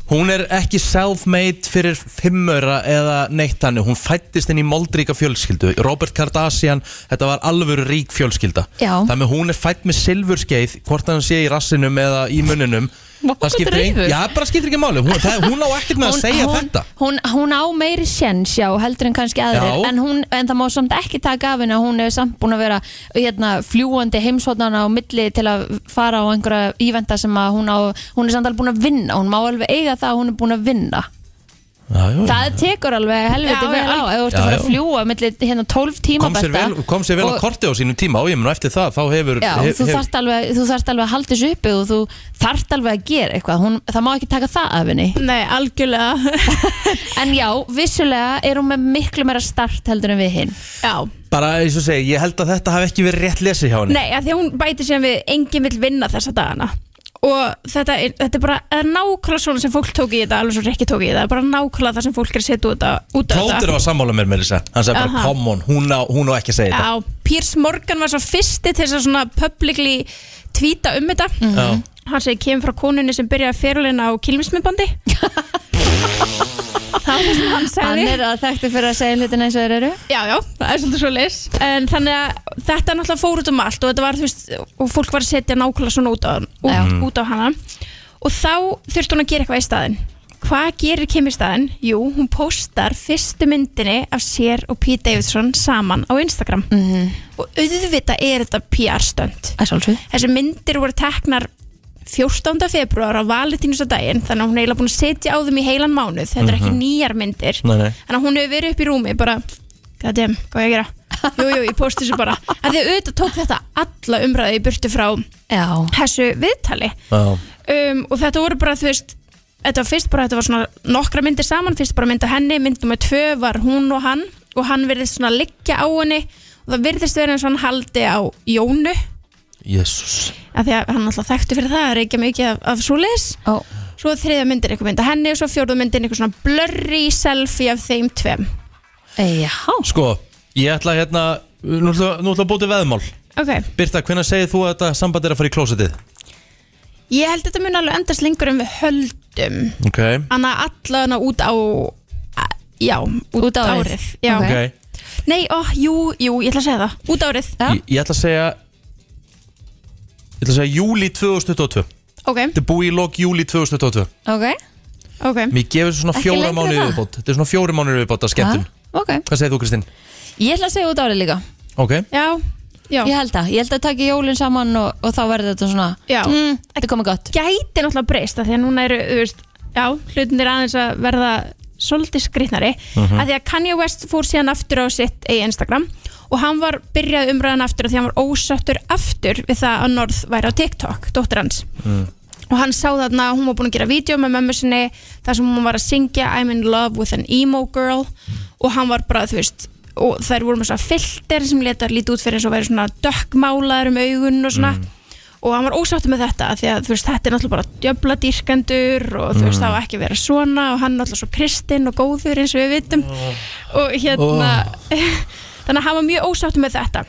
Hún er ekki self-made fyrir fimmöra eða neitt hannu Hún fættist inn í moldríka fjölskyldu Robert Kardashian, þetta var alvöru rík fjölskylda Já. Þannig að hún er fætt með silfurskeið Hvort hann sé í rassinum eða í munninum Það skiptir ein- reyður. Já, bara skiptir ekki máli Hún, það, hún á ekkert með að segja hún, þetta hún, hún á meiri séns, já, heldur en kannski aðrir Já. en, hún, en það má samt ekki taka af henni að hún hefur samt búin að vera hérna, fljúandi heimsóðnana á milli til að fara á einhverja ívenda sem að hún á hún er samt alveg búin að vinna, hún má alveg eiga það að hún er búin að vinna já, Það tekur alveg helviti Já, vel á já, ef þú ert Já, að fara já. að fljúa milli hérna 12 tíma Kom sér vel, kom sér vel á korti á sínum tíma Og ég mun eftir það, þá hefur Já, hef, þú, þarft alveg, þú þarft alveg að halda þessu uppi og þú þarft alveg að gera eitthvað hún, það má ekki taka það af henni Nei, algjörlega En já, vissulega er hún með miklu meira start heldur en við hinn Já, Bara eins og segi, ég held að þetta hafi ekki verið rétt lesið hjá henni nei, að því að hún bætir síðan við enginn vill vinna þessa dagana og þetta er, þetta er bara það er nákvæmlega svona sem fólk tók í þetta alveg svo Rikki tók í þetta, það er bara nákvæmlega það sem fólk er að setja út á út á Plóter var sammála mér með þess að Hann sagði bara, Aha. come on, hún á, hún á ekki að segja Já, Piers Morgan var svo fyrsti til þess að svona publicly tvíta um þetta Já. hann segi kemur frá konunni sem byrjaði fyrirleina á kilmismibandi það var það sem hann Hann sagði er að þekktu fyrir að segja hlutin eins og þeir eru Já, já, það er svolítið svo leis En þannig að þetta er náttúrulega fór út um allt og þetta var, þú veist, og fólk var að setja nákvæmlega svona út á, Já. út, út á hana og þá þurfti hún að gera eitthvað í staðinn Hvað gerir Kim í staðinn? Jú, hún postar fyrstu myndinni af sér og Pete Davidson saman á Instagram Mhm. og auðvitað er þetta PR-stönd Það er svolítið Þessi myndir voru teknar 14. februar á valentínusdaginn þannig að hún er eiginlega búin að setja á þeim í heilan mánuð þetta er ekki Mhm. nýjar myndir Nei, nei. Þannig að hún hefur verið upp í rúmi bara, god damn, hvað á ég að gera? Jú, jú, ég posti þessu bara. En því að auðvitað tók þetta alla umræðu í burtu frá Já. þessu viðtali. Já. Um, og þetta voru bara, þú veist, þetta var fyrst bara, þetta var svona nokkra myndir saman, fyrst bara mynd á henni, mynd nummer tvö var hún og hann og hann virðist svona liggja á henni og það virðist verið eins og hann haldi á Jónu, Jésús af því að hann alltaf þekktu fyrir það, það er ekki mikið af, af svoleiðis. Oh. Svo þriðja myndir eitthvað mynd á henni og svo fjórða myndir eitthvað svona blurry selfie af þeim tveim. Já Sko, ég ætla hérna Nú ætla, nú ætla að búti veðmál Okay. Birta, hvenær segir þú að þetta samband er að fara í klósetið? Ég held þetta mun alveg endast lengur en við höldum Ok Anna allan út á Já, út, Út árið. Já. Ok Nei, ó, jú, jú, ég ætla að segja það Út árið Ég, ég ætla að segja Ég ætla að segja júli 2022 Ok, Þetta er búið í lok júli 2022 Ok, ok Mér gefur þessu svona Mhm. Ekki fjóra lengra en mánuði það? viðbót Þetta er svona fjóra mánuði viðbót að skemmtun ok Hvað segir þú, Kristín? Ég ætla að segja út árið líka Ok Já, já Ég held að, ég held að taki jólin saman og, og þá verður þetta svona Já. mm, Þetta er komið gott Gæti náttúrulega breyst af Því að núna eru, þú veist Já, hlutinir aðeins að verða svolítið skrýtnari Mhm. af Því að Kanye West fór síðan aftur á sitt eigin Instagram Og hann var byrjað umræðan aftur af Því að hann var ósöttur aftur Við það að Norð væri á TikTok, dóttir hans Mm. og hann sá þarna að hún var búin að gera vídeo með mömmu sinni þar sem hún var að syngja I'm in love with an emo girl og hann var bara, þú veist og þær voru með svona filter sem letar lítið út fyrir eins og verið svona dökkmálaður um augun og svona og hann var ósáttur með þetta af því að þú veist, þetta er náttúrulega bara djöbla dýrkendur og þú veist, Mm. það var ekki að vera svona og hann náttúrulega svo kristinn og góður eins og við vitum og hérna þannig að hann var mjög ósáttur með þetta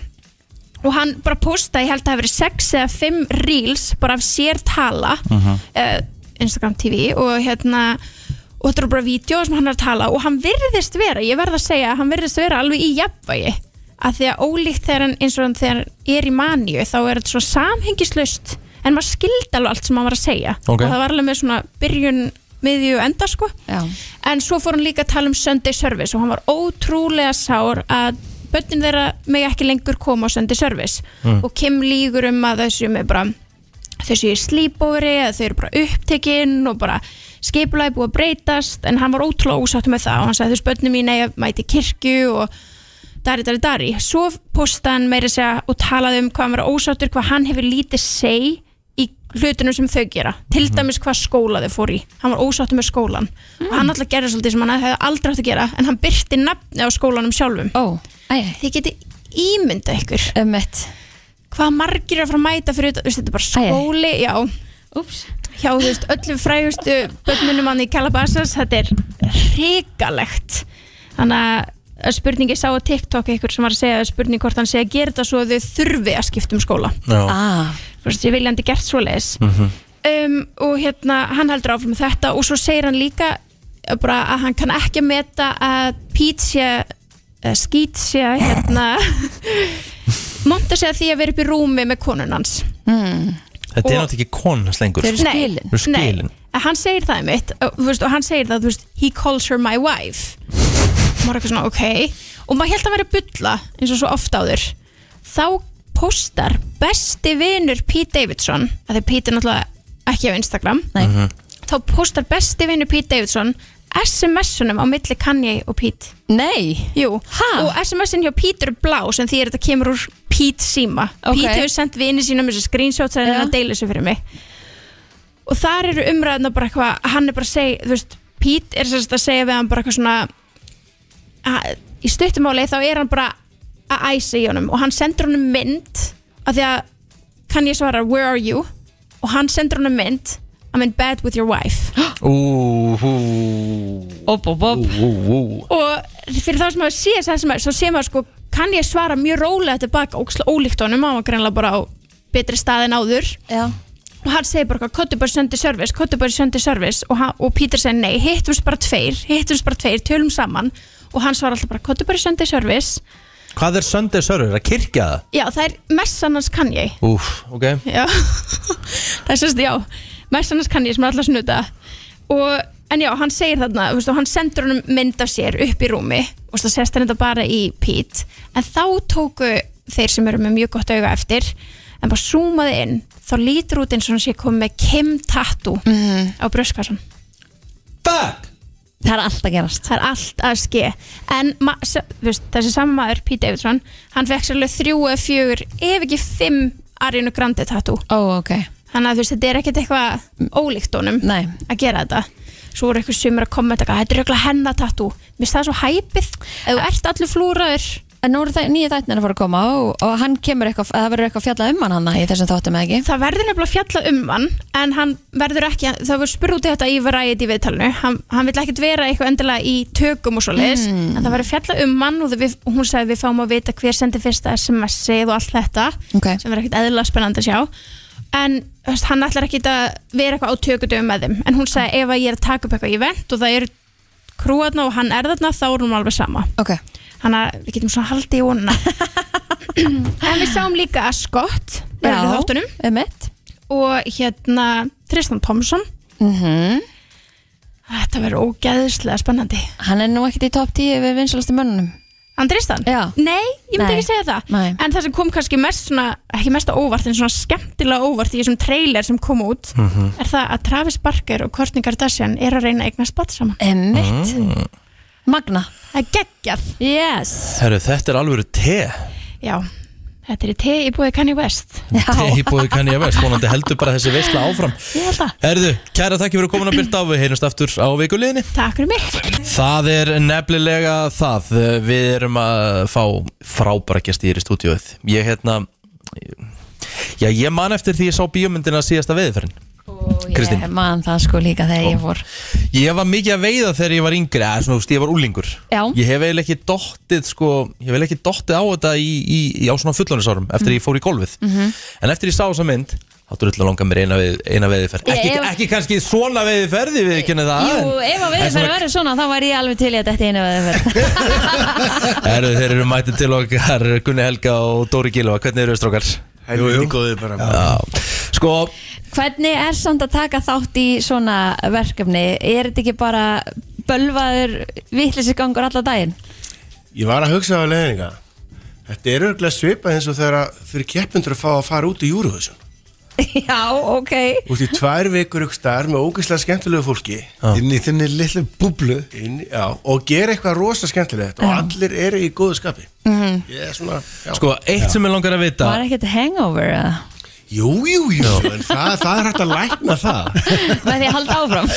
og hann bara postaði, ég held að það hafi verið 6 eða 5 reels bara af sér tala Mhm. uh, Instagram TV og hérna og þetta eru bara vídeo sem hann er að tala og hann virðist vera, ég verð að segja að hann virðist vera alveg í jafnvægi að því að ólíkt þegar hann eins og hann þegar hann er í maníu þá er þetta svo samhengislaust en maður skildi alveg allt sem hann var að segja Ok. og það var alveg með svona byrjun miðju og enda sko Já. en svo fór hann líka að tala um Sunday Service og hann var ótrúlega sár að börnin þeirra megi ekki lengur koma á Sunday Service Mm. og Kim lígur um að þessu með bara þessu í slípóri að þau eru bara upptekinn og bara skipulaði búið að breytast en hann var ótrúlega ósátt með það og hann sagði þessu börnin mín eigi að mæti kirkju og dari, dari, dari svo postaði hann meira að segja og talaði um hvað hann var ósáttur, hvað hann hefur lítið seg í hlutunum sem þau gera til dæmis hvað skóla þau fór í hann var ósáttur með skólan og hann alltaf gerði svolítið sem hann hefði aldrei átt að gera en hann byrti nafni á skólanum sjálfum oh, þið geti ímynda ykkur um mitt hvað margir er að fara að mæta fyrir þetta, þú veist, þetta er bara skóli já, Úps. hjá þú veist, öllum frægustu börnunum hann í Calabasas þetta er hrikalegt þannig að spurningi sá á TikTok eitthvað sem var að segja spurning hvort hann segja að gera þetta svo að þau þurfi að skipta um skóla Já. ah. þú veist, ég viljandi gert svoleiðis Mhm. um, og hérna, hann heldur áfram með þetta og svo segir hann líka eh, bara að hann kann ekki að meta að Pete sé eh, skít sé hérna monta sig að því að vera upp í rúmi með konun hans mm. Þetta er Og- náttúrulega ekki konans lengur Þau eru skilin Nei, hann segir það einmitt og, þú veist, og hann segir það, þú veist, he calls her my wife maður er eitthvað svona, ok og maður held að vera að bulla eins og svo oft áður þá postar besti vinur Pete Davidson að því Pete er náttúrulega ekki á Instagram Nei. Mhm. þá postar besti vinur Pete Davidson SMS-unum á milli Kanye og Pete Nei? Jú, ha? og SMS-in hjá Pete eru blá sem því er þetta kemur úr Pete síma Ok. Pete hefur sendt vini sínum þessi screenshot sem hann er að deila þessu fyrir mig og þar eru umræðina bara eitthvað hann er bara að segja, þú veist, Pete er sérst að segja við hann bara eitthvað svona að, í stuttumáli þá er hann bara að æsa í honum og hann sendur honum mynd af því að kann ég svara where are you og hann sendur honum mynd I'm in bed with your wife Óp, óp, óp og fyrir þá sem maður sé þess að svo sé maður sko, kann ég svara mjög rólega tilbaka óksla ólíkt honum, hann var greinlega bara á betri stað en áður Já. og hann segir bara, kottu bara söndi service kottu bara söndi service og, hann, og Pítur segir nei, hittumst bara tveir hittumst bara tveir, tölum saman og hann svarar alltaf bara, kottu bara söndi service Hvað er Sunday server? Er að kirkja það? já, það er messan hans kann ég Úf, ok Já, það er sérst, já Mest annars kann ég sem er alltaf snuta og, En já, hann segir þarna þú veist, og hann sendur hann mynd af sér upp í rúmi og það sést hann þetta bara í Pete en þá tóku þeir sem eru með mjög gott auga eftir en bara zoomaði inn, þá lítur út eins og hann sé komið með Kim Tattoo á bröskassan Fuck! Það er allt að gerast Það er allt að ske En ma- s- þú veist, þessi saman maður, Pete Davidson hann fekk sérlega þrjú eða fjögur ef ekki fimm Ariana Grande tattoo Ó, ok Þannig að þú veist, þetta er ekkert eitthvað ólíkt honum Nei. að gera þetta. Svo voru eitthvað sem er að kommenta eitthvað, þetta er eitthvað hennatatú. Mér finnst það svo hæpið, ef þú ert allir flúraður. En nú eru það nýja þætnir að fara að koma og, og hann kemur eitthvað, það verður eitthvað fjallað um hann hann í þessum þáttum eða ekki? Það verður nefnilega fjallað um hann, en hann verður ekki, það voru spurð út í þetta í varæði í viðtalinu. Hann, hann vil ekkert vera eitthvað endilega í tökum og svo leiðis, Mm. en það verður fjallað um hann og það við, hún sagði við fáum að vita hver sendi fyrsta SMS-ið og allt þetta, okay. sem verður ekkert eðlilega spennandi að sjá. en þú veist, hann ætlar ekki að vera eitthvað á tökudöfum með þeim en hún sagði ef að ég er að taka upp eitthvað í vent og það eru krúarna og hann er þarna þá er hún alveg sama okay. þannig að við getum svona haldið í honuna en við sáum líka að Scott verður í Já, þáttunum emitt. og hérna Tristan Thompson Mm -hmm. Þetta verður ógæðislega spennandi Hann er nú ekkert í top 10 við vinsalasti mönnunum Andristan? Já Nei, ég myndi Nei. ekki segja það Nei. en það sem kom kannski mest svona, ekki mest á óvart en svona skemmtilega óvart í þessum trailer sem kom út Mhm. er það að Travis Barker og Kourtney Kardashian er að reyna að eignast bat saman Ah. Emmitt Mm. Magna Það er geggjað Yes Herru, þetta er alvöru te Já, þetta er í te í búið Kanye West Te í bóði kann ég veist Mónandi heldur bara þessi veisla áfram Ég held að Herðu, kæra takk fyrir að koma að byrta á Við heyrjumst aftur á vikuleginni Takk fyrir mig Það er nefnilega það Við erum að fá frábæra gæsti hér í stúdíóið Ég hérna Já, ég man eftir því ég sá bíómyndina síðasta veðiðferðin Kristín. Ég man það sko líka þegar ég fór Ég var mikið að veiða þegar ég var yngri eða svona, þú veist, ég var úlingur Já. Ég hef eiginlega ekki dottið sko, ég hef eiginlega ekki dottið á þetta í, í, í, á svona fullónisárum eftir ég fór í golfið Mhm. En eftir ég sá þessa mynd þá drullu að langa mér eina, veið, eina veiðiferð Ég- ekki, ef- ekki kannski svona veiðiferði við kynna það Jú, ef að við fyrir að vera svona þá væri ég alveg til í að þetta einu að vera Erðu þeir eru mætið til okkar Gunni Helga og Dóri Gilva, hvernig eru strókar? Jú, jú, góðið bara Já. Sko, Hvernig er samt að taka þátt í svona verkefni? Er þetta ekki bara bölvaður vittlisegangur alla daginn? Ég var að hugsa á leðninga Þetta er örgulega svipað eins og þegar að fyrir keppundur að fá að fara út í Eurovision Já, ok Út í tvær vikur ykkur starf með ógeðslega skemmtilegu fólki Inn í þinni litlu búblu inn, já, og gera eitthvað rosa skemmtilegt og Já. allir eru í góðu skapi Mhm. Ég er svona já. sko, eitt sem ég langar að vita Var ekkert hangover eða? Jú, jú, jú, en það, það er hægt að lækna það Með því að halda áfram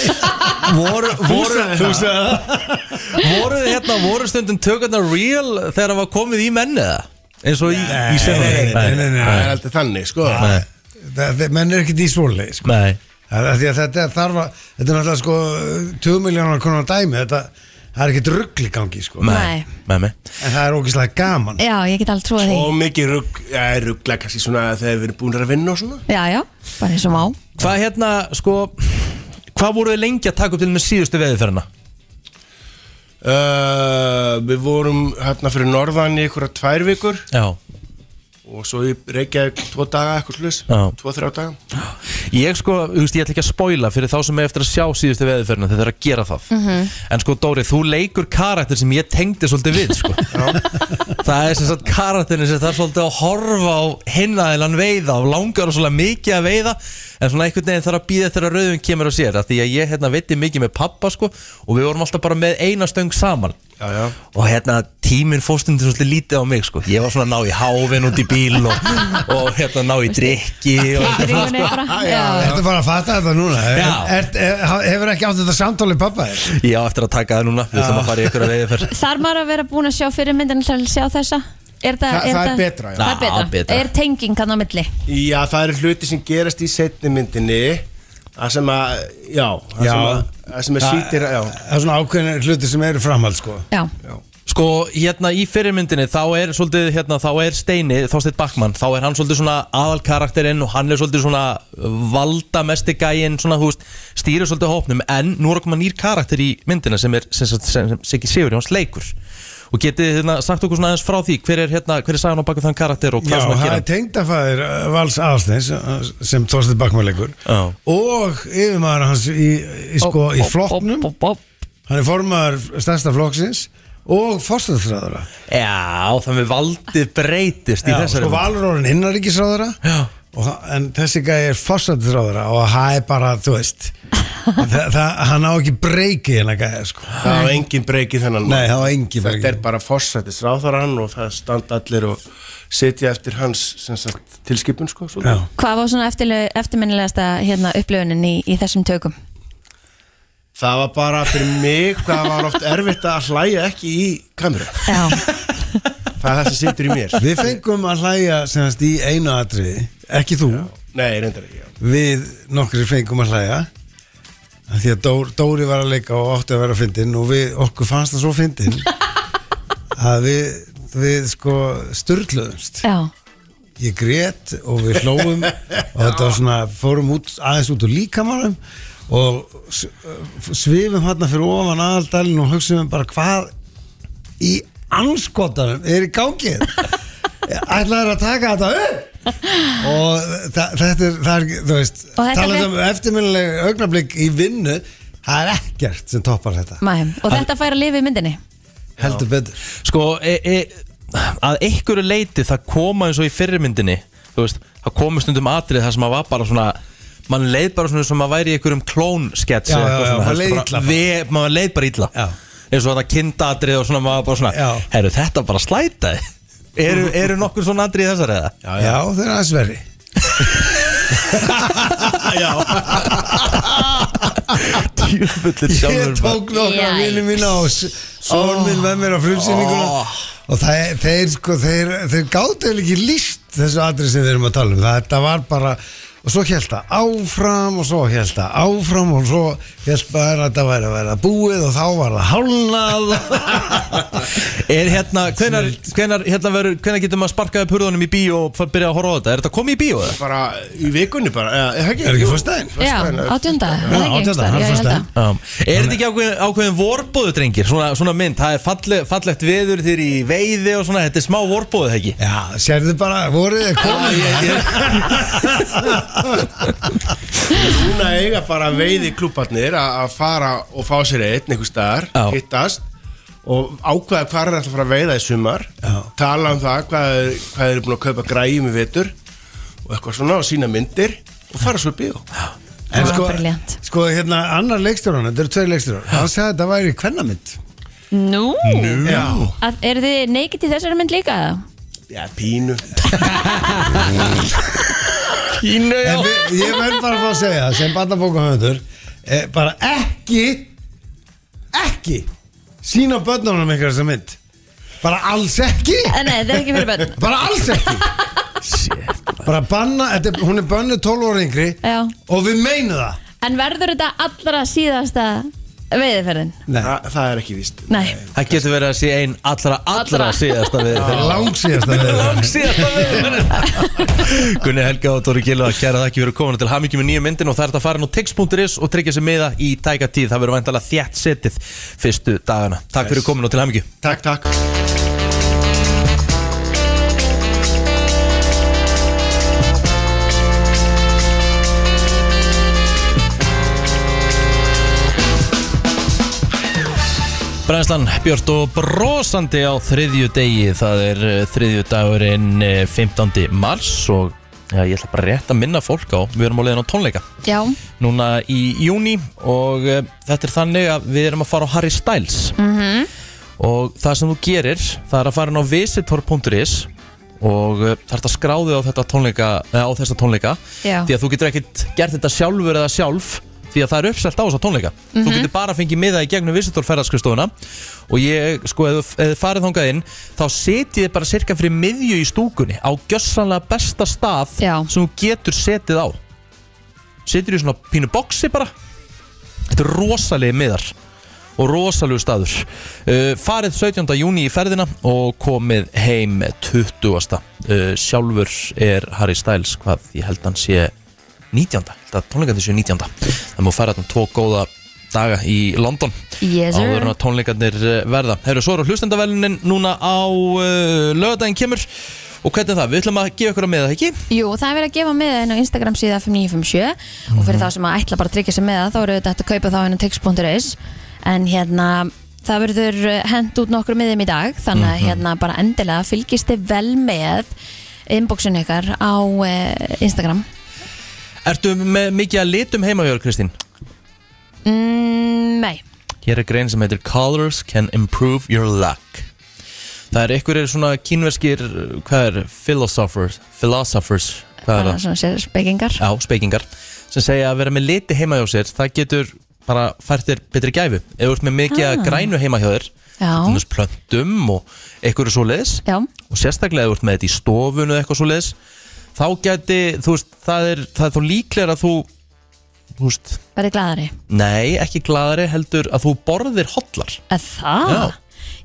voru, voru, sagðir þú sagði það voru þið hérna, voru stundum tökarnar real þegar það var komið í menni það eins og í, í Nei, senunni? nei, nei, nei, nei, það er aldrei þannig, sko Nei. það, menn er ekkert í svonleik sko. Nei Það, af því að þetta þarf að, þetta er náttúrulega sko 20 miljónar konar dæmi, þetta það er ekkert rugl í gangi sko. Nei. með mig En það er ógeðslega gaman. Já, ég get alveg trúið því Og mikið rugg, ja, ruggla kannski svona þegar við erum búin að vinna og svona Já, já, bara eins og má Hvað hérna, sko Hvað voruð þið lengi að taka upp til með síðustu veðurferðina? uh, Við vorum hérna fyrir norðan í einhverja tvær vikur Já Og svo ég reykjaði tvo daga eitthvað slus Já. Tvo, þrjá daga Ég sko, þú veist, ég ætla ekki að spoila fyrir þá sem er eftir að sjá síðustu veðurferðina þegar það er að gera það Mhm. En sko, Dóri, þú leikur karakter sem ég tengdi svolítið við, sko Það er sem sagt karakterin sem það er svolítið að horfa á hinnaðilan veiða og langar og svolítið mikið að veiða en svona einhvern veginn þarf að býða eftir að rauðum kemur og sér af því að ég hérna viti mikið með pappa sko og við vorum alltaf bara með eina stöng saman já, já. og hérna tíminn fórstundi svolítið lítið á mig sko ég var svona að ná í háfin út í bíl og, og hérna ná í drikki og eitthvað sko. Ringunni bara, já. Ertu bara að fatta þetta núna? Er, Já. er, er, hefur ekki átt þetta samtáli pappa þér? Já, eftir að taka það núna, við ætlum að fara í ykkur að veiða fyrr Þarf maður að vera búin að sjá fyrirmyndin til að sjá þessa? Er það, Þa- er það er betra, já. Það er betra. Já, betra. Er tenging hann á milli? Já, það eru hluti sem gerast í setni myndinni Það sem að, já Það Já. sem að, það sem að Það- sýtir, já Það er svona ákveðin hluti sem eru framhald sko Já. Sko, hérna í fyrirmyndinni þá er svolítið, hérna, þá er Steini, Þorsteinn Backmann þá er hann svolítið svona aðalkarakterinn og hann er svolítið svona valdamesti gæinn, svona, þú veist, stýrir svolítið hópnum, en nú er að koma nýr karakter í myndina sem er, sem sagt, sem, sem Siggi Sigurjóns leikur og getið þið, hérna, sagt okkur svona aðeins frá því hver er, hérna, hver er sagan á bakið þann karakter og Já, hvað svona það gerir er tengdafæðir eh, Vals Aðalsteins uh, sem Þorstein Bakmarleikur Já. og yfirmaður hans í, í, sko, í flokknum hann er formaður stærsta flokksins og fórstæðsræðara Já, þannig valdið breytist í Já, þessari sko mynd. Valur orðin innaríkisráðara og, hann- en þessi gæði er fórstæðsráðara og það er bara, þú veist það, það, hann á ekki breyki hérna gæði sko. Það var engin breyki þennan Nei, það var engin breyki Þetta er bara fórsættis ráðarann og það standa allir og setja eftir hans sem sagt, tilskipun sko, svolítið. Hvað var svona eftirle- eftirminnilegasta hérna, upplöfunin í, í þessum tökum? Það var bara fyrir mig það var oft erfitt að hlæja ekki í kameru Já. Það er það sem situr í mér Við fengum að hlæja semast í einu atriði ekki þú Nei, reyndar ekki já. við nokkri fengum að hlæja Af því að Dór, Dóri var að leika og átti að vera að fyndin og við, okkur fannst það svo fyndin að við, við sko styrluðumst Já. ég grét og við hlóum og þetta var svona, fórum út, aðeins út úr líkamanum og s- uh, svifum hérna fyrir ofan aðaldalinn og hugsaðum bara hvað í anskotanum er í hérna? gangið ætlaður að taka þetta upp og þa- þetta er, það er þú veist, Og þetta talað um með- eftirminnileg augnablík í vinnu það er ekkert sem toppar þetta Mæ, og Hann- þetta fær að lifa í myndinni? heldur betur Sko, e, e, að einhverju leiti það koma eins og í fyrirmyndinni þú veist, það komu stundum atrið það sem að var bara svona mann leið bara svona sem að væri í einhverjum klónskets Já, eða já, eitthvað já, svona, mann helst leið bara- illa bara. Ve- mann leið bara illa já. eins og þetta kindatrið og svona maður bara svona, herru þetta bara slæta eru, eru nokkur svona atrið í þessar eða? já, það er aðeins verri já Djöfullir ég tók nokkra vini mína og són minn með mér á frumsýninguna og þeir, þeir, sko, þeir, þeir gáttu eiginlega ekki líst þessu atrið sem við erum að tala um þetta var bara og svo held það áfram og svo held það áfram og svo held bara að þetta væri að vera búið og þá var það hálnað Er hérna, hvenar, hvenar, hérna veru, hvenar getur maður sparkaði purðunum í bíó og fara- byrja að horfa á þetta? Er þetta komið í bíó eða? Bara í vikunni bara, eða ekki? Er ekki föstudaginn? Já, átjönda. er það ekki einhvers staðar? Já, ég held að. Já. Er þetta ekki ákveðin, ákveðin vorbóðu drengir? Svona, svona mynd, það er falle, fallegt veður þeir í veiði og svona, þetta er smá vorbóðu ekki? Já, sérðu bara, voruð þið komið Núna eiga bara veiði klúbarnir að að fara og fá sér einn einhver staðar, hittast og ákveða hvað er alltaf að fara að veiða í sumar tala um það hvað, þeir- hvað þeir eru búin að kaupa græjum í vetur og eitthvað svona og sína myndir og fara svo í bíó En sko, sko, hérna, annar leikstjóran, þetta eru tveir leikstjóran hann sagði að þetta væri kvennamind Nú? Já. Að, er þið neikit í þessari mynd líka? Já, pínu Pínu, já Ég verð bara að fá að segja, það, sem barnabókahöfundur eh, bara ekki ekki sína börnunum ykkur þessa mynd bara alls ekki Eh, Nei, það er ekki fyrir börn bara alls ekki bara banna, þetta, er- hún er bannuð 12 ára yngri Já. og við meinu það En verður þetta allra síðasta veiðiferðin? Þa, það er ekki víst Nei, Það getur verið að sé ein allra, allra síðasta við Langsíðasta við Langsíðasta við Gunni Helga og Dóri Gilva Kæra þakki fyrir komin til hamingjum með nýju myndin Og það er þetta að fara nú tix.is og tryggja sér meða í tæka tíð Það verður væntalega þjætt setið fyrstu dagana Takk fyrir komin og til hamingju Takk, takk Brænslan Björn og brosandi á þriðju degi Það er uh, þriðju dagurinn uh, 15. mars Og ja, ég ætla bara rétt að minna fólk á Við erum á leiðin á tónleika já, Núna í júni Og uh, þetta er þannig að við erum að fara á Harry Styles mhm og það sem þú gerir það er að fara inn á visitor.is og uh, þarf að skráði á, þetta tónleika, eh, á þessa tónleika Já. því að þú getur ekkert gert þetta sjálfur eða sjálf því að það er uppselt á þessa tónleika þú Mhm. getur bara fengið miða í gegnum visitor ferðarskristóðuna og ég, sko, ef ef þið farið þangað inn þá setjið þið bara cirka fyrir miðju í stúkunni á gjössanlega besta stað Já. sem þú getur setið á setjið í svona pínu boksi bara Þetta er rosalegi miðar og rosalegu staður uh, Farið 17. júni í ferðina og komið heim 20. Uh, sjálfur er Harry Styles hvað ég held hann sé 19. Held að tónleikarnir séu 19. Það má fara þarna tvo góða daga í London Yes, sir. áður en að tónleikarnir eh, verða Herru, svo eru hlustendavelunin núna á uh, lögadaginn kemur og hvernig er það? Við ætlum að gefa ykkur að með það ekki? Jú, það er verið að gefa með inn á Instagram síða 5957 og fyrir þá Mhm. sem að ætla bara að tryggja sig með það þá eru þetta að kaupa þá inn á tix.is en hérna það verður hend út nokkru miðum í dag þannig að Mhm. hérna bara endilega fylgist þið vel með inboxinu ykkar á eh, Instagram Ertu með mikið að litum heima hjá, þér, Kristín? mm, Nei, Hér er grein sem heitir Colors can improve your luck Það er einhverjir svona kínverskir Hvað er? Philosophers Philosophers Hvað er bara það? svona sér spekingar Já, spekingar Sem segja að vera með liti heima hjá sér Það getur bara fært þér betri gæfu Ef þú ert með mikið Ah. ah. grænu heima hjá þér Já. Þannig plöntum og einhverju svoleiðis Já. Og sérstaklega ef þú ert með þetta í stofun og eitthvað svoleiðis Þá geti, þú veist, það er, það er þá líklega að þú Þú veist, verið glæðari nei, ekki gladari heldur að þú borðir hotlar að Það?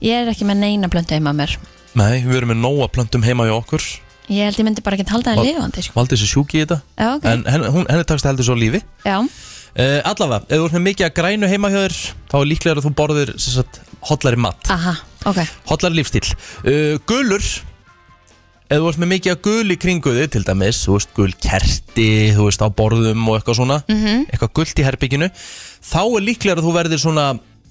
Ég er ekki með neina blöndu heima á mér Nei, við erum með nóga plöntum heima hjá okkur Ég held ég myndi bara ekki halda það Val- lifandi sko. Valdi þessi sjúki í þetta Já, ok. En henni, hún, henni takst það heldur svo á lífi Já, uh, Allavega, ef þú ert með mikið að grænu heima hjá þér Þá er líklega að þú borðir sem sagt, hollari mat aha, ok Hollari lífstíl uh, Gulur Ef þú ert með mikið að gul í kringu þig til dæmis Þú veist gul kerti, þú veist á borðum og eitthvað svona Mhm. Eitthvað gult í herbygginu Þá er líklega að þú verðir svona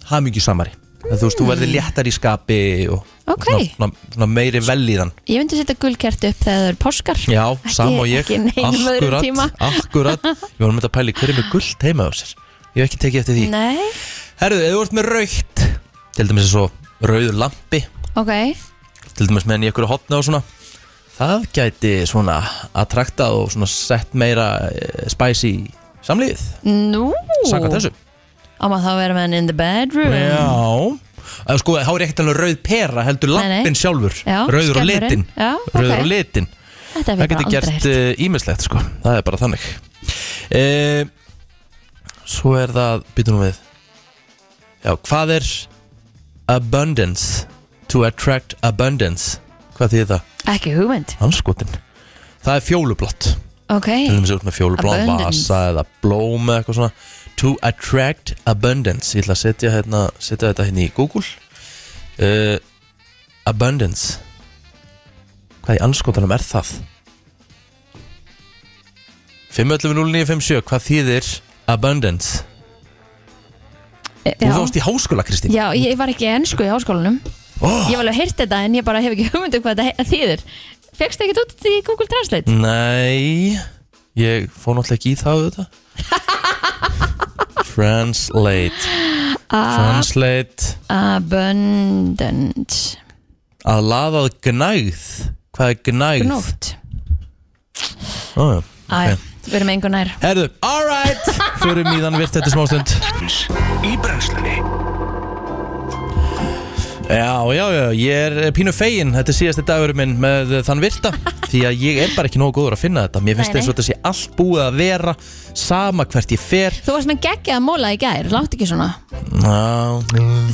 hamingjusamari Þú veist, þú verðir léttar í skapi og Ok. svona, svona, svona meiri velíðan Ég myndi setja gulkert upp þegar það eru páskar Já, sama og ég ekki neinum öðrum Akkurat, tíma. akkurat Ég var með að pæli hverju með gullt heima á sér Ég hef ekki tekið eftir því Nei, Herðu, ef þú ert með raukt Til dæmis eins og rauður lampi ok Til dæmis með henni í einhverju hotna og svona Það gæti svona attraktað og svona sett meira eh, spice í samlífið Nú Saka þessu Á maður þá að vera með hann in the bedroom Já Það sko, þá er ekkert alveg rauð pera heldur Nei, nei. lampin sjálfur Já, Rauður og skemmurinn. litin Já, ok. Rauður og litin Þetta hef Það ég bara getur aldrei gert heyrt. uh, ímislegt sko Það er bara þannig uh, Svo er það Býtum við Já, hvað er Abundance To attract abundance Hvað þýðir það? Ekki hugmynd Hanskotin Það er fjólublott Ok Til þess út með fjólublátt Abundance. vasa eða blóm eða eitthvað svona To attract abundance Ég ætla að setja, hérna, setja þetta hérna í Google uh, Abundance Hvað í anskotanum er það? 5.11.09.57 Hvað þýðir abundance? Þú já. fórst í háskóla, Kristín Já, ég var ekki í ennsku í háskólanum Ó. Ég var alveg heyrt þetta en ég bara hef ekki hugmynd um hvað þetta he- þýðir Fekstu ekkert út í Google Translate? Nei Ég fór náttúrulega ekki í það auðvitað Translate Translate Abundant Að laðað gnægð Hvað er gnægð? Gnótt Ó, Æ, okay. við erum engu nær Herðu, alright Förum í þann virt eftir smástund Í brennslunni Já, já, já, ég er pínu fegin Þetta er síðasti dagurinn minn með þann virta Því að ég er bara ekki nógu góður að finna þetta Mér finnst Nei, eins og nei. þetta sé allt búið að vera Sama hvert ég fer Þú varst með geggjað móla í gær, látt ekki svona Mm. Ná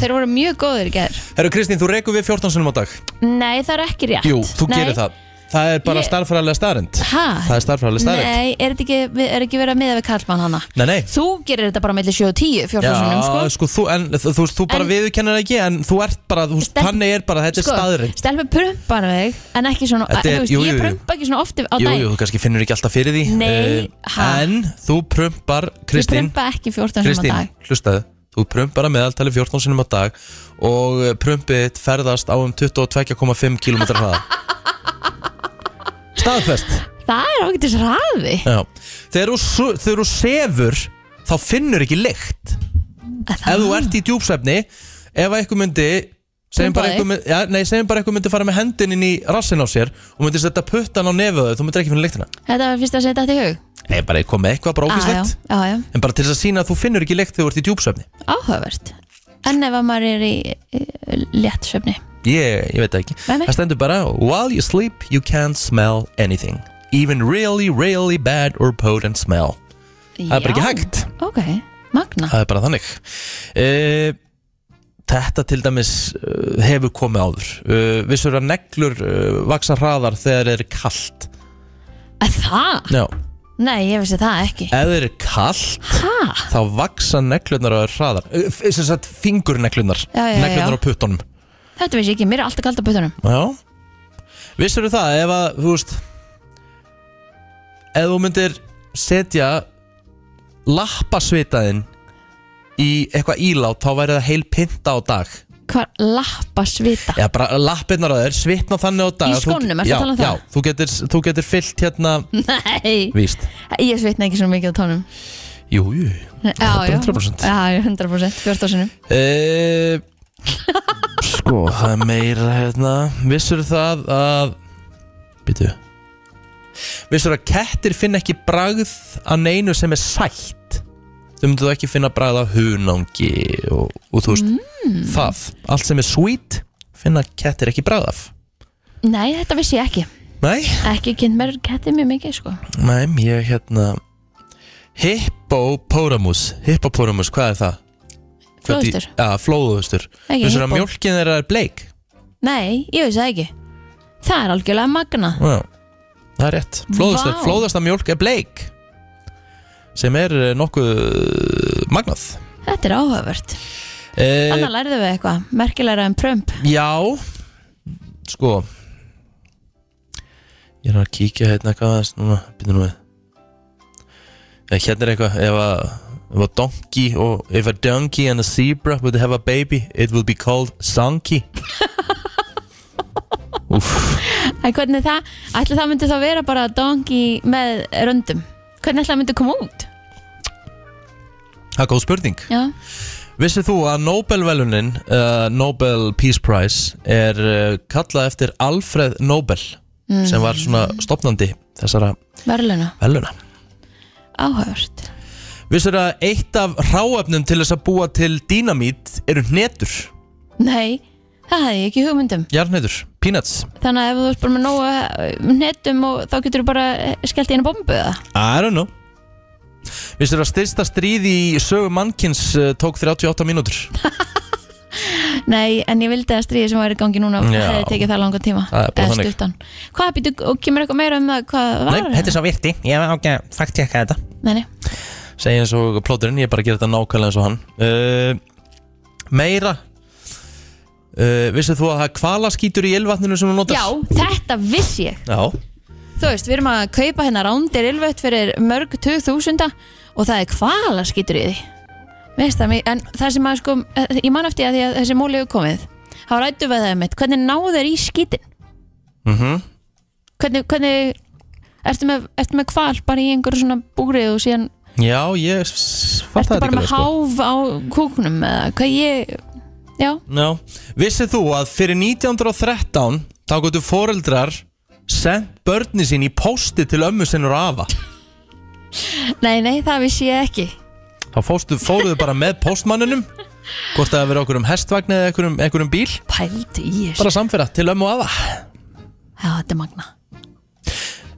Þeir voru mjög góðir í gær Herru Kristín, þú rekur við 14 sinum á dag Nei, það er ekki rétt Jú, þú Nei. gerir það Það er bara Ég- starffræðilega starrend Ha? Það er starffræðilega starrend Nei, er þetta ekki, við- er ekki verið að miða við Karlmann hana Nei, nei Þú gerir þetta bara mellir 7 og 10 14 sinum, sko Já, sko, þú, en, þú, þú, þú bara viðurkennir það ekki En þú ert bara, þú, þannig er bara, þetta er sko, staðurinn Stelmi prumpar mig En ekki svona, Þetta er, er- veist, jú, jú, ég jú. prumpa ekki svona ofti á Jú, daginn jú, þú kannski finnur ekki alltaf fyrir því Nei, Eh, ha? En þú prumpar, Ég Kristín prumpa ekki 14 sinum á Kristín, dag hlustaðu Þú prumpar að meðaltali 14 sinum á dag og eh, prumpið þitt ferðast á um 22,5 km hraða Staðfest Það er ákveðtis hraði Já. Þegar þú, su- þegar þú sefur þá finnur ekki lykt Ef þú ert í djúpsvefni ef að einhver myndi segjum bara Prumpa einhver, myndi- já, nei, segjum bara einhver myndi fara með hendin inn í rassin á sér og myndi setja puttan á nefuðu þú myndir ekki finna lyktina Þetta var fyrst að setja þetta í hug Nei, bara kom með eitthvað Á, brókislegt Ah, Já, já, já, en bara til þess að sína að þú finnur ekki lykt þegar þú ert í djúpsvefni áhugavert En ef að maður er í, í, í léttsöfni Ég, ég veit það ekki Nei, nei. Það stendur bara While you sleep you can't smell anything Even really, really bad or potent smell Það er bara ekki hægt Ok, magna Það er bara þannig uh, Þetta til dæmis uh, hefur komið áður uh, Vissur að neglur uh, vaksa hraðar þegar er kalt Er Það? Já, Nei, ég vissi það ekki ef þeir er kalt Ha? þá vaksa neglurnar á þér hraðar uh, Þess að fingur neglurnar Já, já, já, já. Neglurnar á puttunum Þetta vissi ég ekki, mér er alltaf kalt á butunum Já Vissur þú það ef að, þú veist Ef þú myndir setja Lappasvitaðin Í eitthvað ílátt Þá væri það heil pinta á dag Hvar lappa svita Eða bara lappirnar á þér, svitna þannig á dag Í að þú- skónum, ertu að já, tala um það? Já, þú getur, þú getur fyllt hérna Nei, Víst, ég svitna ekki svona mikið á tónum jú, jú Já, já, 100%. já, já, 100% 14 sinum e Sko, það er meira hérna Vissur það að Býtu Vissur að kettir finna ekki bragð að neinu sem er sætt Þau myndu þá ekki finna bragð af hunangi og, og þú veist Mm. Það, allt sem er sweet finna kettir ekki bragð af Nei, þetta vissi ég ekki Nei, Ekki kynnt mér kettið mjög mikið, sko nei, ég hérna Hippopotamus Hippopotamus, hvað er það? Flóðhestur. Já, flóðustur Ekki Vissur að hippo. mjólkin þeirra er bleik Nei, ég vissi það ekki Það er algjörlega magna Já, það er rétt Flóðasta, Vá. flóðasta mjólk er bleik sem er eh, nokkuð eh, magnað Þetta er áhugavert eh, Annað lærðu við eitthvað, merkilegra en prömp Já Sko Ég er að kíkja hérna eitthvað aðeins núna Býtum nú við Eh, Hérna er eitthvað Ef að If a donkey or if a donkey and a zebra would have a baby, it would be called Sankey. En hvernig það, ætli það myndi þá vera bara donkey með röndum Hvernig ætli það myndi koma út? Það er góð spurning. Já, Vissið þú að Nobelvelunin, uh, Nobel Peace Prize, er uh, kallað eftir Alfred Nobel Mm. sem var svona stopnandi þessara verðluna, veluna. áhugavert Vissið að eitt af ráöfnum til þess að búa til dínamít eru hnetur, Nei, það hefði ég ekki hugmyndum jarðnetur, peanuts. Þannig að ef þú ert bara með nógu nettum og þá getur þú bara eh, skellt í einu bombu eða I don't know. Vissið að styrsta stríði í sögu mannkins uh, tók 38 mínútur. Nei, en ég vildi að stríði sem væri í gangi núna Já. hefði tekið það langan tíma Það er bara eða þannig. stuttan Hvað býtu, og kemur eitthvað meira um það hvað var? Nei, þetta er svo virti, ég hef ekki að fakti ekki þetta. Nei, nei, segja eins og plóturinn, ég er bara að gera þetta nákvæmlega eins og hann uh, Meira uh, Vissið þú að það er hvalaskítur í elvatninu sem þú notar? Já, þetta vissi ég Já, Þú veist, við erum að kaupa hérna rándir ylvött fyrir mörg 2000 og það er hvala skýtur í því Veist það, mér- en það sem að sko ég man eftir að því að þessi múli hefur komið þá rættu við það mitt, hvernig náðu þeir í skýtin mhm hvernig, hvernig ertu með, ertu með hval bara í einhverju svona búrið og síðan Já, ég s- fatt ertu það sko. bara ekki með háf á kúknum eða hvað ég, já Já, vissið þú að fyrir 1913 þá gotu foreldrar sent börni sín í pósti til ömmu sinnur afa nei, nei, það vissi ég ekki þá fórstu, fóruðu bara með póstmanninum Hvort það að vera okkur um hestvagn eða einhverjum, einhverjum bíl Pælt í þessu Bara samferða til ömmu og afa Já, þetta er magna uh,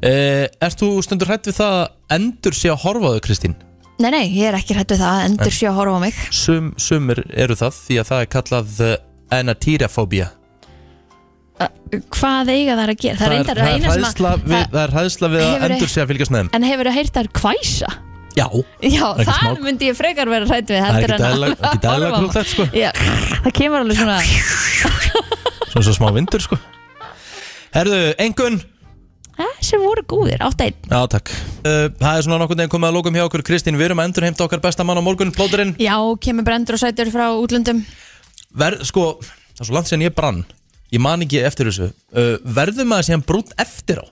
Ert þú stundur hrætt við það að endur sé að horfa á þau Kristín? Nei, nei, ég er ekki hrætt við það Endur Nei. sé að horfa á mig Sum, sumir eru það því að það er kallað uh, anatýrafóbía Hvað eiga það að gera? Það er reyndar það það eina sem hræðsla að við, það er hræðsla við að hefur- endur sé að fylgjast með þeim En hefur þú heyrt þær kvæsa? Já, Já, Það er ekki það smá- myndi ég frekar vera hrætt við það er heldur ekki en að- dæðilega ekki horfa á dæðilega hana. klúklegt sko Já, það kemur alveg svona Svona svo smá vindur sko Herðu, engun eh, sem voru góðir, átt einn Já, takk uh, Það er svona nokkur neginn komið að lókum hjá okkur Kristín, við erum að endurheimta okkar besta mann á morgun Plóturinn, Já, kemur brendur og sætur frá útlöndum verð, sko Það er svo langt sér ég brann Ég man ekki eftir þessu uh, Verður maður síðan brútt eftir á?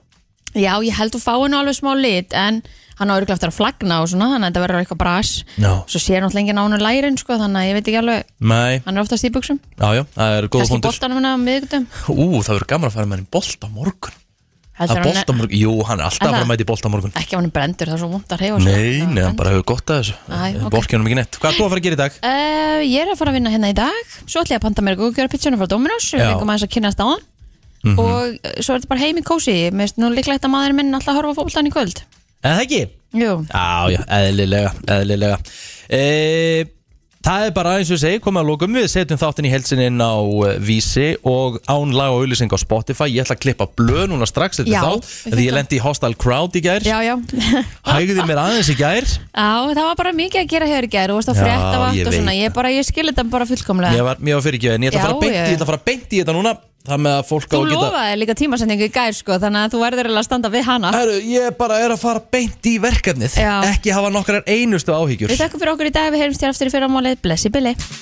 Já, ég held þú fáið nú alveg smá lit en hann á örgulega eftir að flagna og svona þannig að þetta verður eitthvað bras Já Svo sér náttúrulega enginn á hann lærin sko þannig að ég veit ekki alveg Nei, hann er oftast í buksum já, já, það er góða Kannski hundur boltanum hann á miðgutum Ú, það verður gaman að fara með henni bolt á morgun Að bolt á morgun, jú, hann er Er alltaf að fara það? með þetta í bolt á morgun Ekki ef hann er brendur, það er svo vond að reyfa Nei, nei, hann bara hefur gott að þessu Æ, ok. Borkinum ekki neitt Hvað er þú að fara að gera í dag? Uh, ég er að fara að vinna hérna í dag Svo ætla ég að panta mér góðgjöra pizzuna frá Dominos Við Já. fengum aðeins að kynast á hann Mhm. Og uh, svo er þetta bara heim í kósi Mér finnst nú líklegt að maðurinn minn alltaf horfa fólktan í kvöld Eða það ekki? Jú, Já, já, eðlilega, eðlilega e, Það er bara eins og ég segi, komið að lókum við setjum þáttinn í helsin inn á eh, vísi og án lag og auðlýsing á Spotify ég ætla að klippa blöð núna strax þetta Já, er við þátt, því fengum. ég lendi í Hostile Crowd í gær já, já hægði mér aðeins í gær Já, það var bara mikið að gera hér í gær Þú varst að Já, frétta ég vatn og veit svona Ég, bara, ég skil þetta bara mér fullkomlega var, mér var fyrir ekki en ég ætla að Já, fara beint í- já. ég ætla að fara beint í þetta núna það með að fólk á Þú að geta lofaði líka tímasendingu í gær sko Þannig að þú verður eiginlega að standa við hana Heru, Ég bara er að fara beint í verkefnið Já. ekki hafa nokkrar einustu áhyggjur Við þakkum fyrir okkur í dag Við heyrumst hér aftur í fyrramálið Blessi Billy